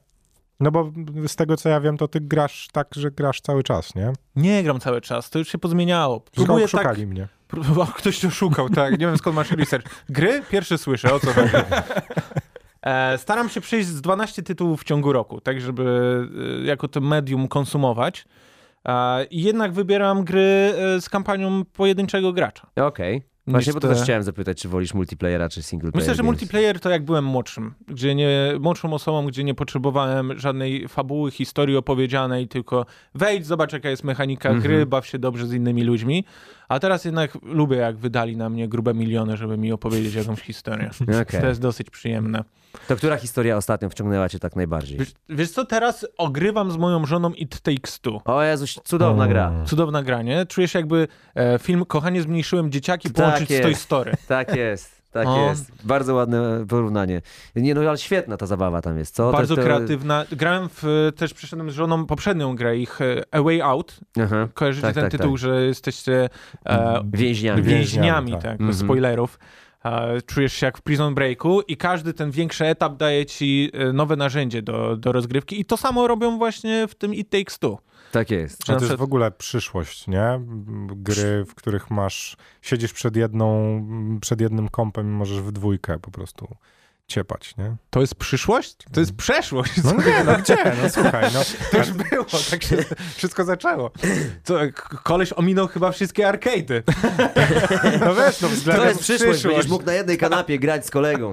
No bo z tego, co ja wiem, to ty grasz tak, że grasz cały czas, nie?
Nie gram cały czas, to już się pozmieniało.
Próbuję
Próbuję tak...
szukali mnie.
Próbował, ktoś to szukał, tak, nie wiem skąd masz research. Gry? Pierwszy słyszę, o co chodzi. [laughs] E, Staram się przejść z 12 tytułów w ciągu roku, tak żeby e, jako to medium konsumować. E, I jednak wybieram gry e, z kampanią pojedynczego gracza.
Okej. Właśnie,
Niż
bo to
te-
też chciałem zapytać, czy wolisz multiplayera, czy single player
Myślę, że
games?
multiplayer to jak byłem młodszym, gdzie nie, młodszą osobą, gdzie nie potrzebowałem żadnej fabuły, historii opowiedzianej, tylko wejdź, zobacz jaka jest mechanika
Mhm.
gry, baw się dobrze z innymi ludźmi. A teraz jednak lubię, jak wydali na mnie grube miliony, żeby mi opowiedzieć jakąś historię.
[laughs] Okej.
To jest dosyć przyjemne.
To która historia ostatnio wciągnęła cię tak najbardziej?
Wiesz, wiesz co, teraz ogrywam z moją żoną It Takes Two.
O Jezus, cudowna gra.
Cudowne granie. Czuję się jakby e, film Kochanie zmniejszyłem dzieciaki
Tak
połączyć z
jest.
Toy Story.
Tak jest, tak
O.
jest. Bardzo ładne porównanie. Nie no, ale świetna ta zabawa tam jest, co?
Bardzo
to, to...
kreatywna. Grałem w, też przeszedłem z żoną poprzednią grę ich e, A Way Out.
Aha.
Kojarzycie
Tak,
ten
tak,
tytuł,
tak.
że jesteście e,
Więźniami.
Wie-
więźniami,
Więźniami,
tak,
tak.
bez spoilerów. E, czujesz się jak w Prison Breaku i każdy ten większy etap daje ci e, nowe narzędzie do, do rozgrywki i to samo robią właśnie w tym It Takes Two.
Tak jest.
A
Że na
to jest
przykład-
Znaczy, w ogóle przyszłość, nie? Gry, w których masz, siedzisz przed jedną, przed jednym kompem i możesz w dwójkę po prostu ciepać, nie?
To jest przyszłość? [laughs] To jest przeszłość.
No nie, no gdzie? No słuchaj, no.
To już było, tak się wszystko zaczęło. Co, k- koleś ominął chyba wszystkie arcade'y.
No wiesz, no względem
To jest przyszłość,
przyszłość.
będziesz mógł na jednej kanapie grać z kolegą.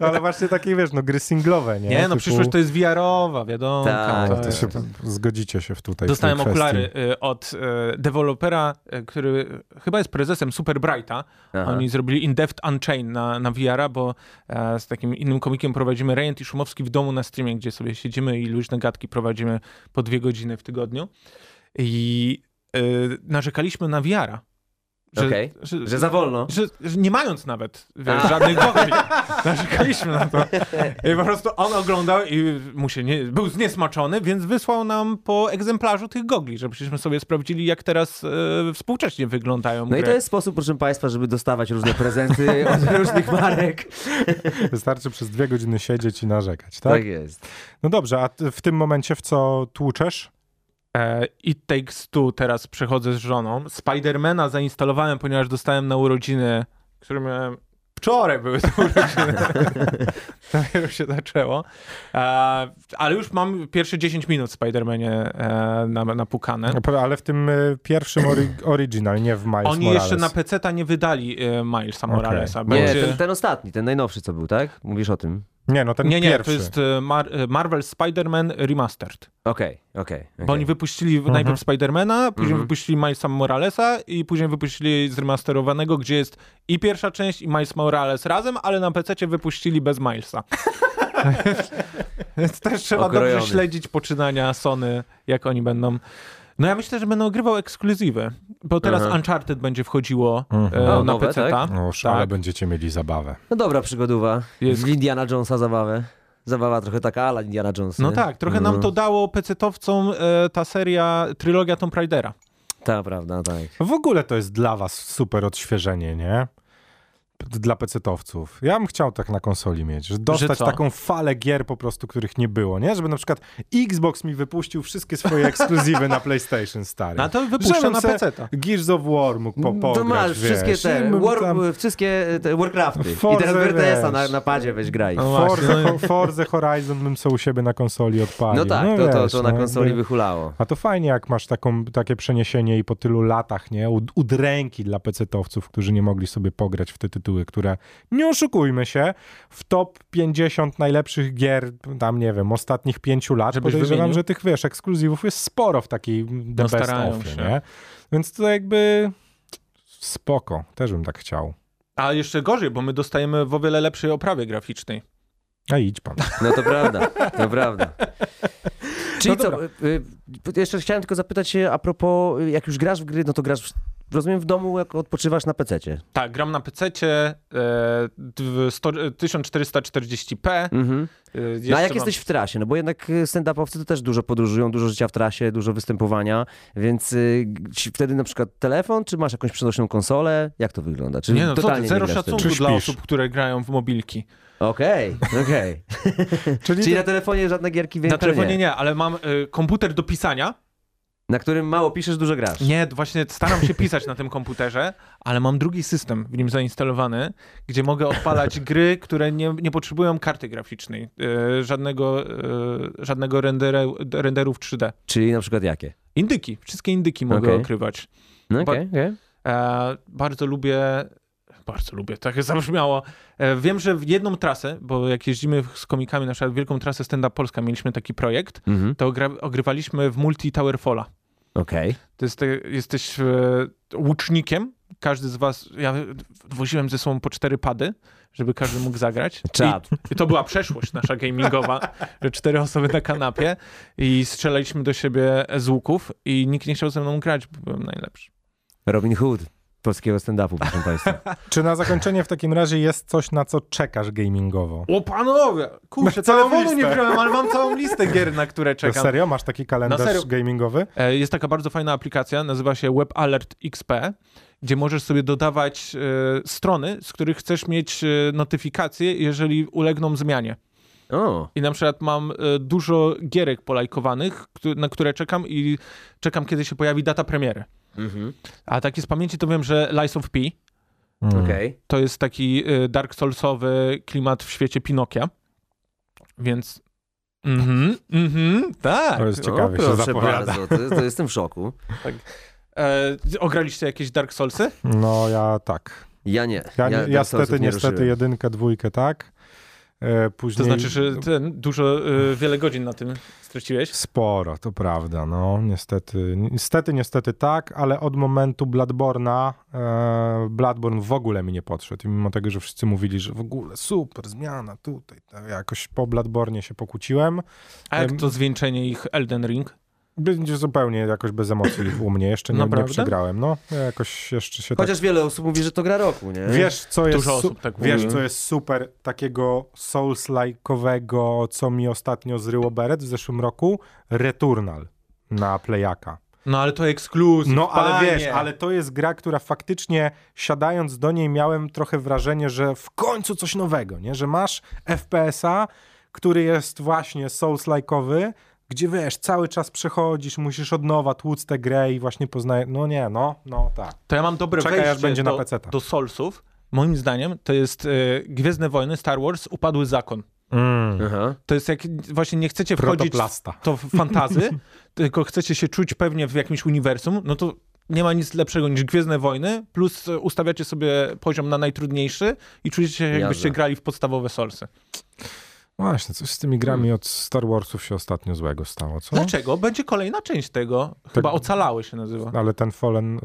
No, ale właśnie takie, wiesz, no gry singlowe, nie?
Nie, no
Typu-
przyszłość to jest VR-owa, wiadomo.
Tak,
to
To
jest-
się, zgodzicie się w tutaj.
Dostałem
w tej kwestii.
okulary y, od y, dewelopera, y, który chyba jest prezesem Super Brighta.
Aha.
Oni zrobili In Depth Unchained na, na VR-a, bo e, z takim innym komikiem prowadzimy Rejent i Szumowski w domu na streamie, gdzie sobie siedzimy i luźne gadki prowadzimy po dwie godziny w tygodniu. I y, narzekaliśmy na VR-a. Że,
Okej.
że,
Że
że,
za wolno.
że, nie mając nawet wiesz, żadnych
[laughs]
gogli, narzekaliśmy na to. I po prostu on oglądał i mu się nie, był zniesmaczony, więc wysłał nam po egzemplarzu tych gogli, żebyśmy sobie sprawdzili, jak teraz e, współcześnie wyglądają
No
gry.
i to jest sposób, proszę Państwa, żeby dostawać różne
[laughs]
prezenty od różnych marek.
Tak?
Wystarczy przez dwie godziny siedzieć i narzekać, tak?
Tak jest.
No dobrze, a ty w tym momencie w co tłuczesz?
E, It Takes Two teraz przechodzę z żoną. Spidermana zainstalowałem, ponieważ dostałem na urodziny, które miałem... Wczoraj były te
[laughs]
urodziny. to już się zaczęło. E, ale już mam pierwsze 10 minut w Spidermanie e, na, napukane.
No, Ale w tym y, pierwszym ori- original, nie w Miles
Oni
Morales.
jeszcze na PC-ta nie wydali e, Milesa
Okej.
Moralesa.
Nie,
Będzie-
ten, ten ostatni, ten najnowszy, co był, tak? Mówisz o tym.
Nie, no ten
nie, nie,
pierwszy.
to jest e, Mar- e, Marvel Spider-Man Remastered.
Okej, okej. okej.
Bo oni wypuścili w- najpierw Spidermana, później
Mhm.
wypuścili Milesa Moralesa i później wypuścili zremasterowanego, gdzie jest i pierwsza część i Miles Morales razem, ale na PC wypuścili bez Milesa. Więc też trzeba
Okrojony.
dobrze śledzić poczynania Sony, jak oni będą. No ja myślę, że będą ogrywał ekskluzywy, bo teraz
Aha.
Uncharted będzie wchodziło
Mhm.
e,
Mhm. O,
na
nowe,
PC.
tak?
Oż,
tak.
ale No, będziecie mieli zabawę.
No dobra przygodowa.
Jest-
W Indiana Jonesa zabawę. Zabawa trochę taka ala Indiana Jonesa.
No
nie?
tak, trochę nam
Mhm.
to dało pecetowcom e, ta seria, trylogia Tomb Raidera.
Ta prawda, tak.
W ogóle to jest dla was super odświeżenie, nie? P- Dla pecetowców. Ja bym chciał tak na konsoli mieć, że dostać
co?
taką falę gier po prostu, których nie było, nie? Żeby na przykład Xbox mi wypuścił wszystkie swoje ekskluzywy na PlayStation stary.
No to wypuszczę
Żebym
na
se
PC-ta.
Gears of War mógł po, pograć,
to No masz
wiesz,
wszystkie
i
te,
bym
war,
tam-
wszystkie te Warcrafty. I
Forza,
teraz RTS-a na,
wiesz.
na padzie weź graj.
No właśnie, no
Forza,
i-
Forza Horizon bym sobie u siebie na konsoli odpalił.
No tak, to, to,
wiesz,
to na
no,
konsoli
jakby-
wyhulało.
A to fajnie, jak masz taką, takie przeniesienie i po tylu latach, nie? Ud- Udręki dla pecetowców, którzy nie mogli sobie pograć w te tytuły, które, nie oszukujmy się, w top 50 najlepszych gier, tam nie wiem, ostatnich pięciu lat,
Żebyś
podejrzewam,
wymienił?
że tych, wiesz, ekskluzywów jest sporo w takiej the
No,
best
starają
of,
się.
nie? Więc to jakby spoko, też bym tak chciał.
A jeszcze gorzej, bo my dostajemy w o wiele lepszej oprawie graficznej.
A idź
[laughs]
pan.
No to prawda, to prawda.
[laughs]
Czyli
No
co, y, y, jeszcze chciałem tylko zapytać się a propos, y, jak już grasz w gry, no to grasz, w- rozumiem, w domu, jak odpoczywasz na pececie.
Tak, gram na PC-cie e, w sto- e, 1440p. E,
Mhm. No
jeszcze
a jak
mam-
jesteś w trasie? No bo jednak y, stand-upowcy to też dużo podróżują, dużo życia w trasie, dużo występowania, więc y, ci wtedy na przykład telefon, czy masz jakąś przenośną konsolę? Jak to wygląda? Czy
Nie no, co
totalnie
ty, zero
nie grasz wtedy?
szacunku
Czy
dla
śpisz?
osób, które grają w mobilki.
Okej, okej. [laughs] Czyli na telefonie żadne gierki
Na
większe
telefonie
nie.
Znaczy, nie, ale mam e, komputer do pisania.
Na którym mało piszesz, dużo grasz.
Nie, właśnie staram się pisać na tym komputerze, ale mam drugi system w nim zainstalowany, gdzie mogę
[laughs]
odpalać gry, które nie, nie potrzebują karty graficznej, e, żadnego, e, żadnego renderu, renderów 3D.
Czyli na przykład jakie?
Indyki, wszystkie indyki mogę
Okej.
okrywać.
No
Ba-
okej, okej.
E, bardzo lubię. Bardzo lubię, tak zabrzmiało. E, wiem, że w jedną trasę, bo jak jeździmy z komikami, na przykład w wielką trasę Stand Up Polska, mieliśmy taki projekt,
Mhm.
to gra, ogrywaliśmy w multi Towerfalla.
Okej.
To jest, te- jesteś e, łucznikiem, każdy z was, ja woziłem ze sobą po cztery pady, żeby każdy mógł zagrać. I
Czad.
i to była przeszłość nasza gamingowa, że cztery osoby na kanapie i strzelaliśmy do siebie z łuków i nikt nie chciał ze mną grać, bo byłem najlepszy.
Robin Hood polskiego stand-upu, proszę państwa.
Czy na zakończenie w takim razie jest coś, na co czekasz gamingowo?
O panowie! Kurczę,
Masz całą
telefonu nie
listę.
wziąłem, ale mam całą listę gier, na które
To
czekam.
serio? Masz taki
Na serio.
kalendarz gamingowy?
E, Jest taka bardzo fajna aplikacja, nazywa się Web Alert XP, gdzie możesz sobie dodawać e, strony, z których chcesz mieć e, notyfikacje, jeżeli ulegną zmianie.
[laughs] O,
I na przykład mam e, dużo gierek polajkowanych, któ- na które czekam i
Mhm.
czekam, kiedy się pojawi data premiery. A tak z pamięci to wiem, że Lies of P,
Okej.
To jest taki y, Dark Soulsowy klimat w świecie Pinokia. Więc. Mhm, mhm, tak.
To jest ciekawe, się
Proszę
zapowiada.
bardzo, to, to jestem w szoku.
E, ograliście jakieś Dark Soulsy?
No ja tak.
Ja nie.
Ja, ja,
Dark Soulsów
stety,
nie
niestety,
ruszyłem.
jedynkę, dwójkę, tak. E, Później...
To znaczy, że ten, dużo, y, wiele godzin na tym straciłeś?
Sporo, to prawda, no niestety, niestety, niestety tak, ale od momentu Bladborna e, Bladborn w ogóle mi nie podszedł. I mimo tego, że wszyscy mówili, że w ogóle super, zmiana tutaj, to jakoś po Bladbornie się pokłóciłem.
A jak
Em,
to zwieńczenie ich Elden Ring?
Będzie zupełnie jakoś bez emocji u mnie, jeszcze nie, nie
Naprawdę?
przegrałem, no jakoś jeszcze się tak...
Chociaż wiele osób mówi, że to gra roku, nie?
Wiesz, co jest,
Dużo
su-
osób tak mówi.
wiesz, co jest super takiego souls-like'owego, co mi ostatnio zryło beret w zeszłym roku? Returnal na Playaka.
No ale to ekskluzyw.
No ale
panie.
wiesz, ale to jest gra, która faktycznie siadając do niej miałem trochę wrażenie, że w końcu coś nowego, nie? Że masz FPS-a, który jest właśnie souls-like'owy, gdzie wiesz, cały czas przechodzisz, musisz od nowa tłuc tę grę i właśnie poznaje. No nie, no, no tak.
To ja mam dobre
Czekaj, aż
wejście
będzie na
do,
peceta.
do Soulsów. Moim zdaniem to jest y, Gwiezdne Wojny, Star Wars, Upadły Zakon.
Aha.
To jest jak, właśnie nie chcecie wchodzić w
Protoplasta.
to w
[laughs]
fantazy, tylko chcecie się czuć pewnie w jakimś uniwersum, no to nie ma nic lepszego niż Gwiezdne Wojny, plus e, ustawiacie sobie poziom na najtrudniejszy i czujecie się jakbyście
Jasne.
grali w podstawowe solsy.
No. Właśnie, coś z tymi grami
Hmm.
od Star Warsów się ostatnio złego stało, co?
Znaczy-
Dlaczego? Będzie kolejna część tego. Chyba
Tak.
Ocalały się nazywa.
Ale ten Fallen,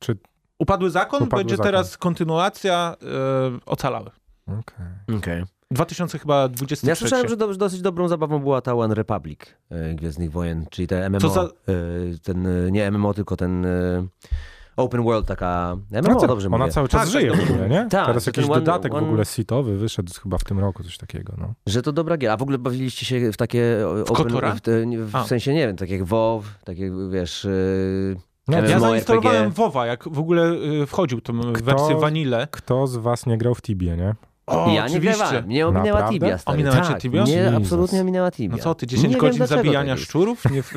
czy...
Upadły Zakon,
No. Upadły
będzie
Zakon.
teraz kontynuacja e, Ocalały.
Okej.
Okej.
2000 chyba 23.
Ja słyszałem, że do, dosyć dobrą zabawą była ta One Republic e, Gwiezdnych Wojen, czyli te MMO.
Co za-
e, ten, e, nie MMO, tylko ten e, Open World, taka MMO,
co,
No dobrze
ona
mówię.
cały czas
Tak,
żyje
tak,
w ogóle, nie?
tak,
Teraz
że ten
jakiś
one-
dodatek w
one-
ogóle sitowy wyszedł chyba w tym roku, coś takiego, no.
Że to dobra gier. A w ogóle bawiliście się w takie... o-
Kotora?
w, te, nie, w
A.
sensie, nie wiem, tak jak WoW, tak jak, wiesz... e,
No,
Ja
MMORPG.
zainstalowałem Wowa, jak w ogóle y, wchodził tą wersję Vanille.
Kto z was nie grał w Tibię, nie?
O,
ja nie
oczywiście.
grywałem. Mnie ominęła
Naprawdę?
Tibia, stary.
Ominęła cię
tak,
Tibia?
Nie,
Jezus.
absolutnie ominęła Tibia.
No co ty, 10
nie
godzin
wiem, dlaczego
zabijania
tak jest.
szczurów?
[laughs]
Nie... w-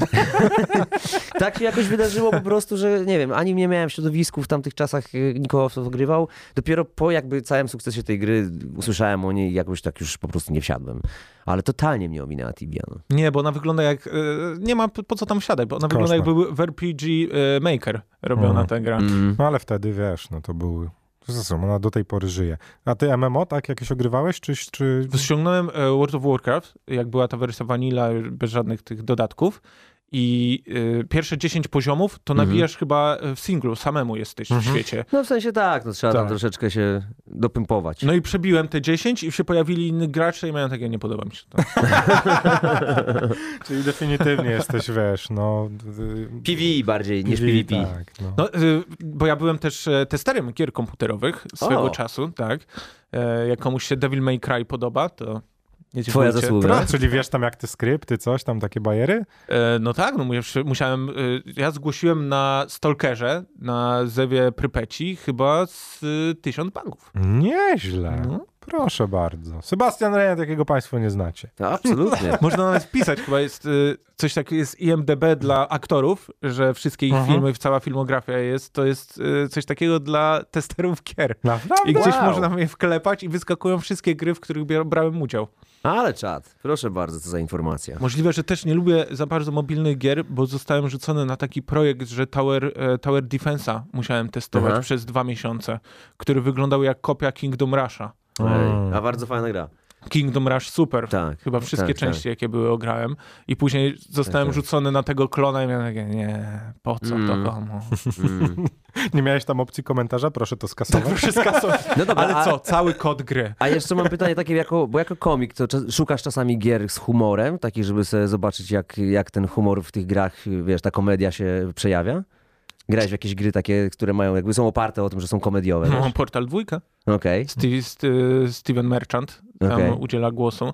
Tak mi jakoś wydarzyło po prostu, że nie wiem, ani nie miałem w środowisku w tamtych czasach e, nikogo, kto to grywał. Dopiero po jakby całym sukcesie tej gry usłyszałem o niej i jakoś tak już po prostu nie wsiadłem. Ale totalnie mnie ominęła Tibia. No.
Nie, bo ona wygląda jak. e, Nie ma po po co tam wsiadać, bo ona wygląda
Koszmar.
jakby był w RPG e, Maker robiona
Mhm.
ta gra.
No ale wtedy, wiesz, no to był... Zresztą ona do tej pory żyje. A ty MMO, tak? Jakieś ogrywałeś? Czy, czy...
Ściągnąłem e, World of Warcraft, jak była ta wersja vanilla, bez żadnych tych dodatków. I e, pierwsze 10 poziomów to
Mhm.
nawijasz chyba e, w singlu, samemu jesteś w świecie.
no w sensie tak, no trzeba
Tak.
tam troszeczkę się dopympować.
No i przebiłem te 10 i się pojawili inni gracze i mają takie, nie podoba mi się to.
Czyli definitywnie
[laughs]
jesteś, wiesz, no... y,
PvE bardziej niż
PvE,
PvP.
Tak, no.
No, y, bo ja byłem też e, testerem gier komputerowych swego
O.
czasu, tak. E, Jak komuś się Devil May Cry podoba, to nie
Twoja
dziękujcie.
zasługa.
No, czyli wiesz tam jak te skrypty, coś tam, takie bajery?
E, No tak, no musiałem- musiałem. e, Ja zgłosiłem na Stalkerze, na Zewie Prypeci, chyba z e, 1000 banków.
Nieźle.
No.
Proszę bardzo. Sebastian Rejent, jakiego państwo nie znacie.
No, absolutnie.
Można nawet wpisać, chyba jest e, coś takiego, jest IMDB dla aktorów, że wszystkie ich
Mhm.
filmy, cała filmografia jest, to jest e, coś takiego dla testerów gier.
Naprawdę?
I gdzieś
Wow.
można mnie wklepać i wyskakują wszystkie gry, w których bia- brałem udział.
Ale czad, proszę bardzo, co za informacja.
Możliwe, że też nie lubię za bardzo mobilnych gier, bo zostałem rzucony na taki projekt, że Tower, e, tower Defense'a musiałem testować
Aha.
przez dwa miesiące, który wyglądał jak kopia Kingdom Rush'a.
Ej, a bardzo fajna gra.
Kingdom Rush super.
Tak.
Chyba wszystkie
tak,
części, jakie były, ograłem. I później zostałem
Tak, tak.
rzucony na tego klona i miałem takie, nie, po co
Mm.
to komu?
Tak. Mm.
Nie miałeś tam opcji komentarza? Tak, Proszę to skasować.
Wszystko są...
No [laughs] dobra,
Ale
a-
co, cały kod gry.
A jeszcze mam pytanie takie, jako, bo jako komik, to czas, szukasz czasami gier z humorem, takich, żeby sobie zobaczyć, jak, jak ten humor w tych grach, wiesz, ta komedia się przejawia? Grałeś w jakieś gry takie, które mają, jakby są oparte o tym, że są komediowe.
No,
wiesz? No
Portal 2.
Okej.
Steve, St- Steven Merchant tam
Okej.
udziela głosu.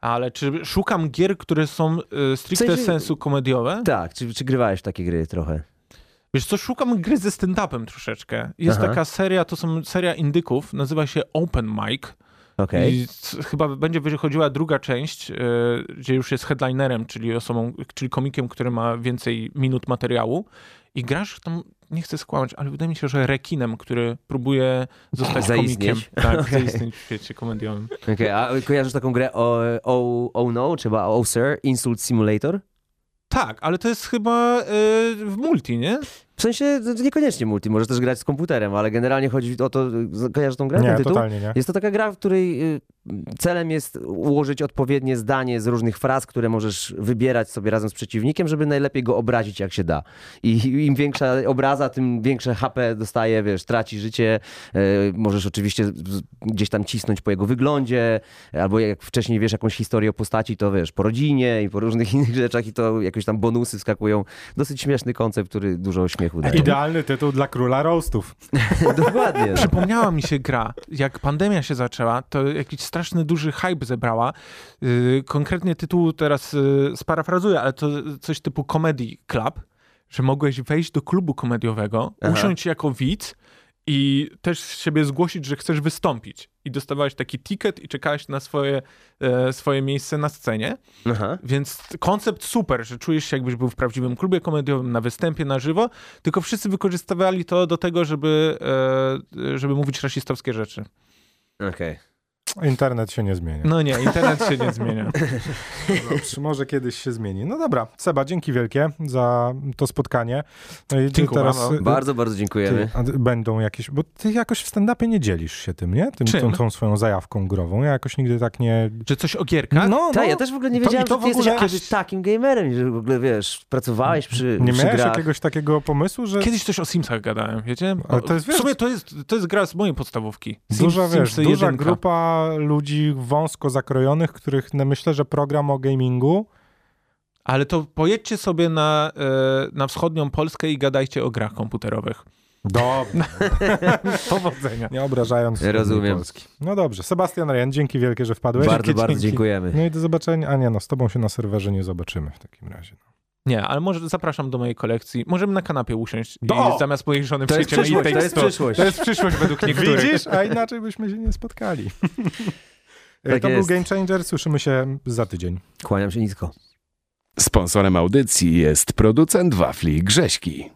Ale czy szukam gier, które są y, stricte
W sensie-
sensu komediowe?
Tak, czy, czy grywałeś w takie gry trochę?
Wiesz co, szukam gry ze stand-upem troszeczkę. Jest
Aha.
taka seria, to są seria indyków, nazywa się Open Mic.
Okej.
I c- chyba będzie wychodziła druga część, e, gdzie już jest headlinerem, czyli osobą, czyli komikiem, który ma więcej minut materiału. I grasz tam nie chcę skłamać, ale wydaje mi się, że rekinem, który próbuje zostać
Zaistnieć.
komikiem.
[laughs]
Tak,
Okej.
zaistnieć w świecie komediowym.
Okej, a kojarzysz taką grę o, o, o No, czy chyba o Sir, Insult Simulator?
Tak, ale to jest chyba y, w multi, nie?
W sensie to- to niekoniecznie multi, możesz też grać z komputerem, ale generalnie chodzi o to, kojarzysz tą grę, ten
Nie,
tytuł?
totalnie nie.
Jest to taka gra, w której y, celem jest ułożyć odpowiednie zdanie z różnych fraz, które możesz wybierać sobie razem z przeciwnikiem, żeby najlepiej go obrazić jak się da. I im większa obraza, tym większe HP dostaje, wiesz, traci życie. Y, Możesz oczywiście z- gdzieś tam cisnąć po jego wyglądzie, albo jak wcześniej wiesz jakąś historię o postaci, to wiesz, po rodzinie i po różnych [laughs] innych rzeczach i to jakieś tam bonusy wskakują. Dosyć śmieszny koncept, który dużo śmiechu daje.
Idealny tytuł dla króla roastów.
[laughs] Dokładnie.
Przypomniała mi się gra. Jak pandemia się zaczęła, to jakiś straszny duży hype zebrała. Yy, konkretnie tytuł teraz yy, sparafrazuję, ale to coś typu Comedy Club, że mogłeś wejść do klubu komediowego,
Aha.
usiąść jako widz i też z siebie zgłosić, że chcesz wystąpić. I dostawałeś taki ticket i czekałeś na swoje, e, swoje miejsce na scenie.
Aha.
Więc koncept super, że czujesz się jakbyś był w prawdziwym klubie komediowym, na występie, na żywo, tylko wszyscy wykorzystywali to do tego, żeby, e, żeby mówić rasistowskie rzeczy.
Okej.
Internet się nie zmienia.
No nie, internet się nie [laughs] zmienia.
Dobrze, może kiedyś się zmieni. No dobra, Seba, dzięki wielkie za to spotkanie. No i
Dziękuję,
teraz
no.
Bardzo, bardzo dziękujemy.
ty, a d- będą jakieś, bo ty jakoś w stand-upie nie dzielisz się tym, nie? Tym,
Czym?
tą, tą swoją zajawką grową. Ja jakoś nigdy tak nie...
Że coś o gierkach?
no,
Tak, ja też w ogóle nie
To- i
wiedziałem,
to
że
w
ty jesteś
ogóle
aż
kiedyś-
takim gamerem, że w ogóle, wiesz, pracowałeś przy,
Nie
przy
miałeś
grach.
jakiegoś takiego pomysłu, że...
Kiedyś coś o Simsach gadałem, wiecie?
Ale to jest,
w
wiesz-
sumie to jest, to jest gra z mojej podstawówki. Sims,
Duża, wiesz,
Simsy
duża
jedynka.
grupa ludzi wąsko zakrojonych, których no, myślę, że program o gamingu
Ale to pojedźcie sobie na, e, na wschodnią Polskę i gadajcie o grach komputerowych. [laughs]
Dobra.
Powodzenia.
Nie obrażając
Rozumiem.
Polski. No dobrze. Sebastian Ryan, dzięki wielkie, że wpadłeś.
Bardzo,
Dzięki,
bardzo
dzięki.
dziękujemy.
No i do zobaczenia. A nie, no z tobą się na serwerze nie zobaczymy w takim razie. No.
Nie, ale może zapraszam do mojej kolekcji. Możemy na kanapie usiąść
Do!
i zamiast mojej żony
No To jest
przejdziemy i
przyszłość, to jest
tekstu.
przyszłość.
To jest przyszłość według niektórych.
Widzisz? A inaczej byśmy się nie
[laughs]
spotkali. E,
Tak
to
jest.
był Game Changer. Słyszymy się za tydzień.
Kłaniam się nisko.
Sponsorem audycji jest producent wafli Grześki.